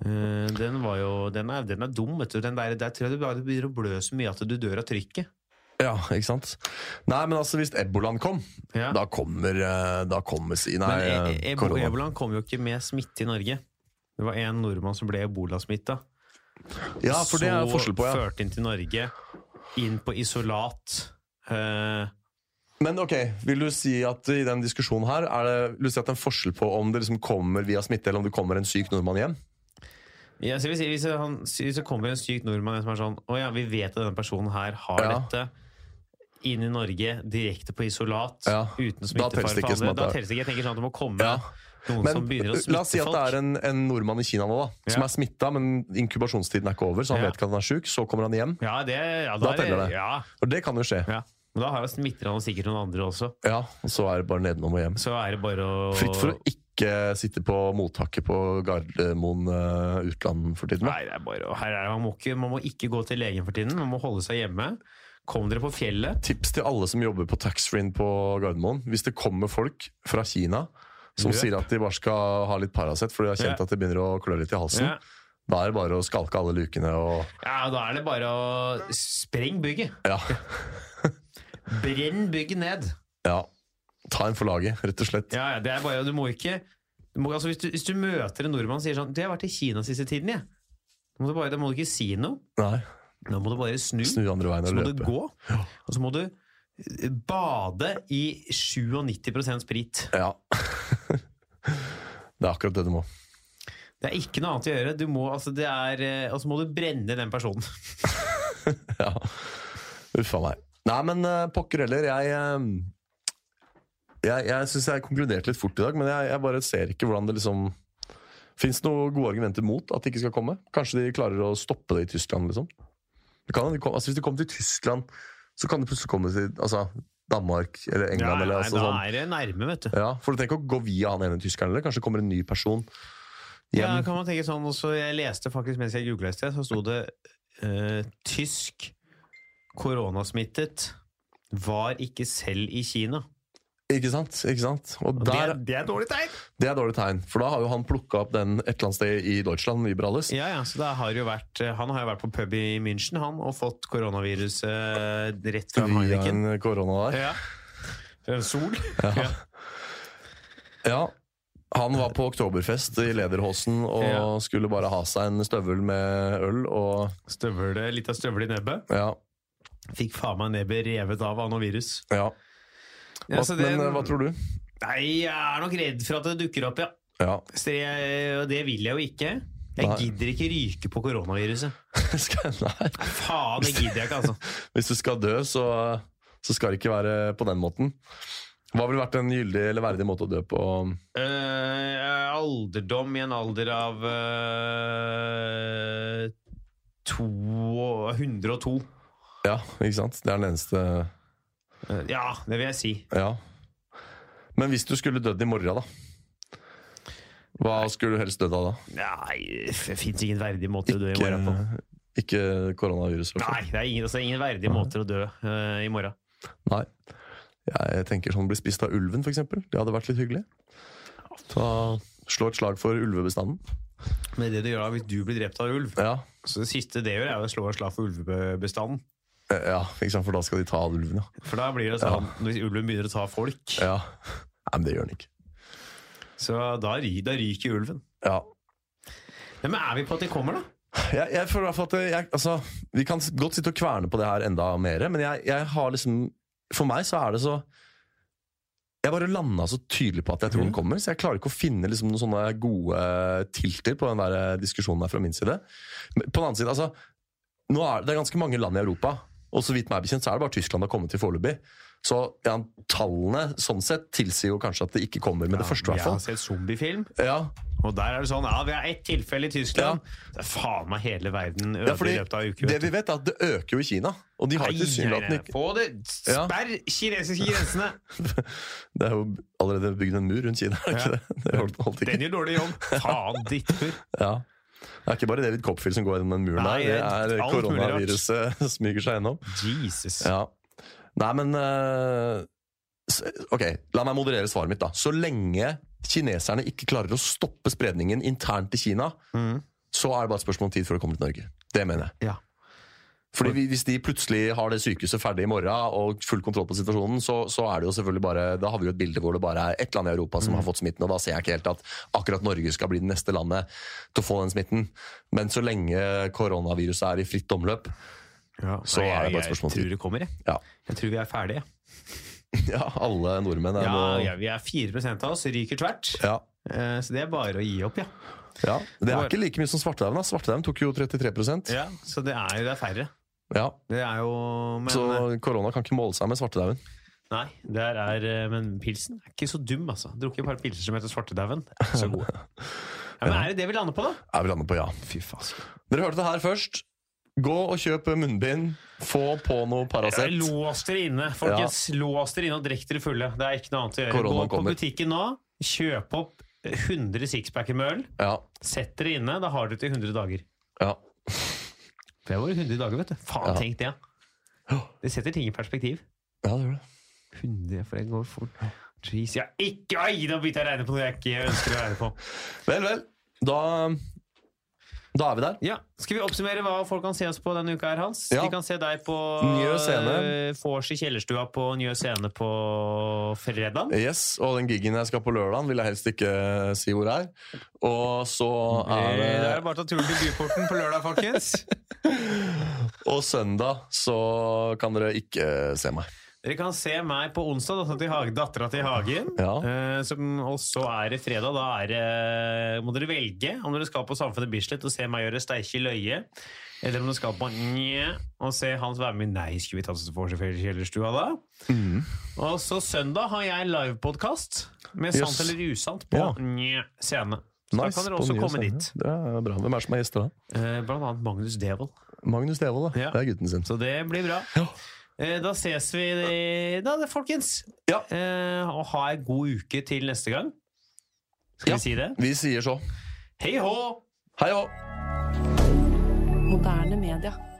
Speaker 2: Eh, den var jo Den er, den er dum, vet du. Den der, der tror jeg du bare begynner å blø så mye at du dør av trykket.
Speaker 3: Ja, ikke sant? Nei, men altså, hvis ebolaen kom,
Speaker 2: Ja.
Speaker 3: Da kommer, eh, da kommer si, nei,
Speaker 2: Men e
Speaker 3: eh,
Speaker 2: e ebo-
Speaker 3: korona.
Speaker 2: ebolaen kom jo ikke med smitte i Norge. Det var en nordmann som ble ebolasmitta.
Speaker 3: Ja, for det er jo forskjell på,
Speaker 2: Så
Speaker 3: ja.
Speaker 2: ført inn til Norge, inn på isolat. Eh,
Speaker 3: Men ok, vil du si at i den diskusjonen her, er det, vil du si at det er en forskjell på om det liksom kommer via smitte, eller om det kommer en syk nordmann hjem?
Speaker 2: ja, så hvis, hvis, han, hvis det kommer en syk nordmann som er sånn Å ja, vi vet at denne personen her har
Speaker 3: Ja.
Speaker 2: dette. Inn i Norge, direkte på isolat,
Speaker 3: Ja.
Speaker 2: uten
Speaker 3: Da
Speaker 2: smittefare
Speaker 3: telles det
Speaker 2: for
Speaker 3: ikke som
Speaker 2: andre.
Speaker 3: at
Speaker 2: Da
Speaker 3: det er-
Speaker 2: telles det ikke. Jeg tenker sånn at det må komme
Speaker 3: Ja.
Speaker 2: noen som
Speaker 3: Men
Speaker 2: begynner å
Speaker 3: la oss si
Speaker 2: smitte
Speaker 3: at det er
Speaker 2: folk.
Speaker 3: en, en nordmann i Kina nå, da, som
Speaker 2: Ja.
Speaker 3: er smitta, men inkubarsjonstiden er ikke over, så han
Speaker 2: Ja.
Speaker 3: vet ikke at han er syk, så kommer han hjem.
Speaker 2: Ja, det, ja,
Speaker 3: Da
Speaker 2: da, er det-
Speaker 3: teller det.
Speaker 2: Ja,
Speaker 3: Og det kan jo skje.
Speaker 2: ja. Men da har jo smitter han sikkert noen andre også.
Speaker 3: Ja, og så er det bare nedenom og hjem.
Speaker 2: Så er det bare å
Speaker 3: Fritt for å ikke sitte på mottaket på Gardermoen eh, utland for tiden. da.
Speaker 2: Nei, det er bare å- her er, det- man, må ikke, man må ikke gå til legen for tiden. Man må holde seg hjemme. Kom dere på fjellet.
Speaker 3: tips til alle som jobber på taxfree på Gardermoen. Hvis det kommer folk fra Kina som
Speaker 2: Løp.
Speaker 3: sier at de bare skal ha litt Paracet, for de har kjent
Speaker 2: Ja.
Speaker 3: at det begynner å klø litt i halsen,
Speaker 2: Ja.
Speaker 3: da er det bare å skalke alle lukene og
Speaker 2: ja, Da er det bare å spreng bygget.
Speaker 3: Ja.
Speaker 2: Brenn bygget ned.
Speaker 3: ja. Ta en for laget, rett og slett.
Speaker 2: Ja, ja, det er bare, du må ikke du må, altså, hvis, du, hvis du møter en nordmann og sier sånn 'Du, jeg har vært i Kina siste tiden, jeg.' Da må du, bare, da må du ikke si noe.
Speaker 3: Nei.
Speaker 2: Da må du bare snu.
Speaker 3: Snu andre veien
Speaker 2: Så
Speaker 3: og
Speaker 2: må du
Speaker 3: løpe.
Speaker 2: gå. Og så må du eh, bade i 97 sprit.
Speaker 3: Ja. det er akkurat det du må.
Speaker 2: Det er ikke noe annet å gjøre. Du må, altså, det er, eh, og så må du brenne den personen.
Speaker 3: Ja. Uff a meg. Nei, men eh, pokker heller. Jeg eh, Jeg, jeg syns jeg konkluderte litt fort i dag, men jeg, jeg bare ser ikke hvordan det liksom Fins det noen gode argumenter mot at det ikke skal komme? Kanskje de klarer å stoppe det i Tyskland, liksom? Det kan, de kom, altså, hvis de kommer til Tyskland, så kan de plutselig komme til altså, Danmark eller England eller altså,
Speaker 2: da
Speaker 3: sånn.
Speaker 2: er det nærme, vet du.
Speaker 3: Ja, For du trenger ikke å gå via han ene tyskeren, eller? Kanskje det kommer en ny person
Speaker 2: Ja,
Speaker 3: hjem?
Speaker 2: kan man tenke sånn også, Jeg leste faktisk mens jeg googla i sted, så sto det eh, tysk koronasmittet var ikke selv i Kina.
Speaker 3: Ikke sant? Ikke sant? Og
Speaker 2: Og
Speaker 3: der,
Speaker 2: det, det er et dårlig tegn!
Speaker 3: det er dårlig tegn, for da har jo han plukka opp den et eller annet sted i Deutschland, i Bralles.
Speaker 2: Ja, ja, så det har jo vært, eh, Han har jo vært på pub i München han, og fått koronaviruset rett fra
Speaker 3: Via
Speaker 2: Heineken.
Speaker 3: en korona der.
Speaker 2: Ja. En sol.
Speaker 3: Ja. ja. Han var på oktoberfest i Lederhosen og
Speaker 2: Ja.
Speaker 3: skulle bare ha seg en støvel med øl og
Speaker 2: Støvle, litt av støvel i nebbet.
Speaker 3: Ja.
Speaker 2: Fikk faen meg nebbet revet av av noe virus.
Speaker 3: ja. Hva,
Speaker 2: Ja, så det,
Speaker 3: men eh, hva tror du?
Speaker 2: Nei, jeg er nok redd for at det dukker opp, ja.
Speaker 3: Ja.
Speaker 2: Så jeg, og det vil jeg jo ikke. Jeg
Speaker 3: Nei.
Speaker 2: gidder ikke ryke på koronaviruset.
Speaker 3: Skal- Nei.
Speaker 2: Faen, det gidder jeg ikke, altså.
Speaker 3: Hvis du skal dø, så, så skal det ikke være på den måten. Hva ville vært en gyldig eller verdig måte å dø på?
Speaker 2: Eh, alderdom i en alder av eh, to- 102.
Speaker 3: Ja, ikke sant? Det er den eneste
Speaker 2: Eh, Ja, det vil jeg si.
Speaker 3: Ja. Men hvis du skulle dødd i morgen, da? Hva skulle du helst dødd av da?
Speaker 2: Nei, det fins ingen verdig måte å dø i
Speaker 3: Ikke,
Speaker 2: morgen på.
Speaker 3: ikke koronavirus? i hvert fall.
Speaker 2: Nei, det er ingen, altså, ingen verdige måter å dø eh, i morgen.
Speaker 3: Nei. Jeg tenker sånn bli spist av ulven, f.eks. Det hadde vært litt hyggelig. Ta, slå et slag for ulvebestanden.
Speaker 2: Men det du gjør da, hvis du blir drept av ulv
Speaker 3: Ja.
Speaker 2: Så det siste det gjør, er jo å slå et slag for ulvebestanden.
Speaker 3: Eh, ja, ikke sant? For da skal de ta ulven, ja.
Speaker 2: For da blir det sånn, hvis ulven begynner å ta folk,
Speaker 3: ja. Nei, men det gjør den ikke.
Speaker 2: så da, ry- da ryker ulven.
Speaker 3: Ja.
Speaker 2: Ja, men er vi på at de kommer, da?
Speaker 3: Jeg, jeg føler i hvert fall at jeg, altså, Vi kan s- godt sitte og kverne på det her enda mer, men jeg, jeg har liksom For meg så er det så Jeg bare landa så tydelig på at jeg tror
Speaker 2: Mhm.
Speaker 3: den kommer, så jeg klarer ikke å finne liksom noen sånne gode tilter på den der eh, diskusjonen her fra min side. Men på den annen side, altså nå er det, det er ganske mange land i Europa, og så vidt meg bekjent så er det bare Tyskland det har kommet til foreløpig. Så ja, tallene sånn sett tilsier jo kanskje at det ikke kommer med det første,
Speaker 2: jeg
Speaker 3: i hvert
Speaker 2: har
Speaker 3: fall.
Speaker 2: sett zombiefilm,
Speaker 3: Ja,
Speaker 2: og der er det sånn Ja, vi har ett tilfelle i Tyskland. Det er faen meg hele verden
Speaker 3: ja,
Speaker 2: øde
Speaker 3: fordi
Speaker 2: i løpet av en uke.
Speaker 3: det vi vet, er at det øker jo i Kina. Og de har
Speaker 2: Nei,
Speaker 3: tilsynelatende ikke
Speaker 2: På det!
Speaker 3: Ja.
Speaker 2: Sperr kinesiske grensene!
Speaker 3: Det er jo allerede bygd en mur rundt Kina, er det ikke det? Det holdt, holdt ikke.
Speaker 2: Den gjør dårlig jobb. Faen, dittmur.
Speaker 3: Ja. Det er ikke bare David Copfield som går gjennom den muren
Speaker 2: Nei,
Speaker 3: der, det er
Speaker 2: alt mulig rart.
Speaker 3: koronaviruset som smyger seg gjennom.
Speaker 2: Jesus.
Speaker 3: Ja. Nei, men eh, s- Ok, la meg moderere svaret mitt, da. Så lenge kineserne ikke klarer å stoppe spredningen internt i Kina,
Speaker 2: Mhm.
Speaker 3: så er det bare et spørsmål om tid før det kommer til Norge. Det mener jeg.
Speaker 2: Ja.
Speaker 3: Fordi vi- Hvis de plutselig har det sykehuset ferdig i morgen og full kontroll på situasjonen, så, så er det jo selvfølgelig bare, da har vi jo et bilde hvor det bare er ett land i Europa
Speaker 2: Mm.
Speaker 3: som har fått smitten. og Da ser jeg ikke helt at akkurat Norge skal bli det neste landet til å få den smitten. Men så lenge koronaviruset er i fritt omløp
Speaker 2: Ja.
Speaker 3: Så
Speaker 2: Nei,
Speaker 3: er det bare et
Speaker 2: jeg-
Speaker 3: spørsmål om
Speaker 2: Jeg
Speaker 3: tid.
Speaker 2: tror det kommer, jeg.
Speaker 3: Ja,
Speaker 2: Jeg tror vi er ferdige.
Speaker 3: ja alle nordmenn er
Speaker 2: Ja,
Speaker 3: nå
Speaker 2: ja, vi er 4 av oss, ryker tvert.
Speaker 3: ja.
Speaker 2: Eh, Så det er bare å gi opp, ja.
Speaker 3: Ja, Det er ikke like mye som svartedauden. da. Svartedauden tok jo 33
Speaker 2: ja så det er jo det er færre.
Speaker 3: ja.
Speaker 2: Det er jo men, eh,
Speaker 3: Så korona kan ikke måle seg med svartedauden.
Speaker 2: Nei, der er, eh, men pilsen er ikke så dum, altså. Drukket et par pilser som heter Svartedauden. Det er ikke Så gode. Ja, men er det det vi lander på, da?
Speaker 3: Er vi landet på ja.
Speaker 2: Fy faen.
Speaker 3: Dere hørte det her først. Gå og kjøp munnbind. Få på noe Paracet.
Speaker 2: Lås dere inne, folkens. Lås dere inne og drikk dere fulle. Det er ikke noe annet å gjøre.
Speaker 3: Koronaen
Speaker 2: Gå på
Speaker 3: kommer.
Speaker 2: butikken nå, kjøp opp 100 sixpacker med øl.
Speaker 3: Ja,
Speaker 2: Sett dere inne, da har dere til 100 dager.
Speaker 3: ja.
Speaker 2: For Det var jo 100 dager, vet du. Faen,
Speaker 3: Ja.
Speaker 2: tenk det. ja. Det setter ting i perspektiv.
Speaker 3: ja det gjør det.
Speaker 2: 100, for det går fort. Jeez, jeg har ikke Ai, nå begynte jeg å regne på noe jeg ikke ønsker å regne på.
Speaker 3: Vel, vel. Da, da er vi der.
Speaker 2: Ja, Skal vi oppsummere hva folk kan se oss på denne uka her, Hans?
Speaker 3: Ja.
Speaker 2: De kan se deg på
Speaker 3: Njø Scene.
Speaker 2: eh, Vors i kjellerstua på Njø Scene på fredag.
Speaker 3: Yes, Og den gigen jeg skal på lørdag, vil jeg helst ikke si hvor er. Og så er
Speaker 2: Eh, da er det
Speaker 3: det
Speaker 2: bare å ta turen til Byporten på lørdag, folkens.
Speaker 3: Og søndag så kan dere ikke se meg.
Speaker 2: Dere kan se meg på onsdag, dattera til, Hage, dattera til Hagen.
Speaker 3: Ja.
Speaker 2: Eh, som, og så er det fredag. Da er det, må dere velge om dere skal på Samfunnet Bislett og se meg gjøre steike løye. Eller om dere skal på Njø og se Hans være med i Nei, skulle vi tatt oss for kjellerstua da?
Speaker 3: Mhm.
Speaker 2: Og så søndag har jeg livepodkast med
Speaker 3: Yes.
Speaker 2: Sant eller usant på
Speaker 3: Ja.
Speaker 2: Njø scene. Så da kan dere
Speaker 3: på
Speaker 2: også
Speaker 3: nye
Speaker 2: komme
Speaker 3: scener.
Speaker 2: dit.
Speaker 3: Det er bra. Hvem er det som er gjester da?
Speaker 2: Eh, blant annet Magnus Devold.
Speaker 3: Magnus Devold, da.
Speaker 2: Ja.
Speaker 3: Det er gutten sin.
Speaker 2: Så det blir bra.
Speaker 3: Ja.
Speaker 2: Eh, Da ses vi i- da, det, folkens.
Speaker 3: Ja.
Speaker 2: Eh, Og ha ei god uke til neste gang. Skal
Speaker 3: Ja.
Speaker 2: vi si det?
Speaker 3: Vi sier så.
Speaker 2: Hei hå!
Speaker 3: Hei hå!
Speaker 4: Moderne media.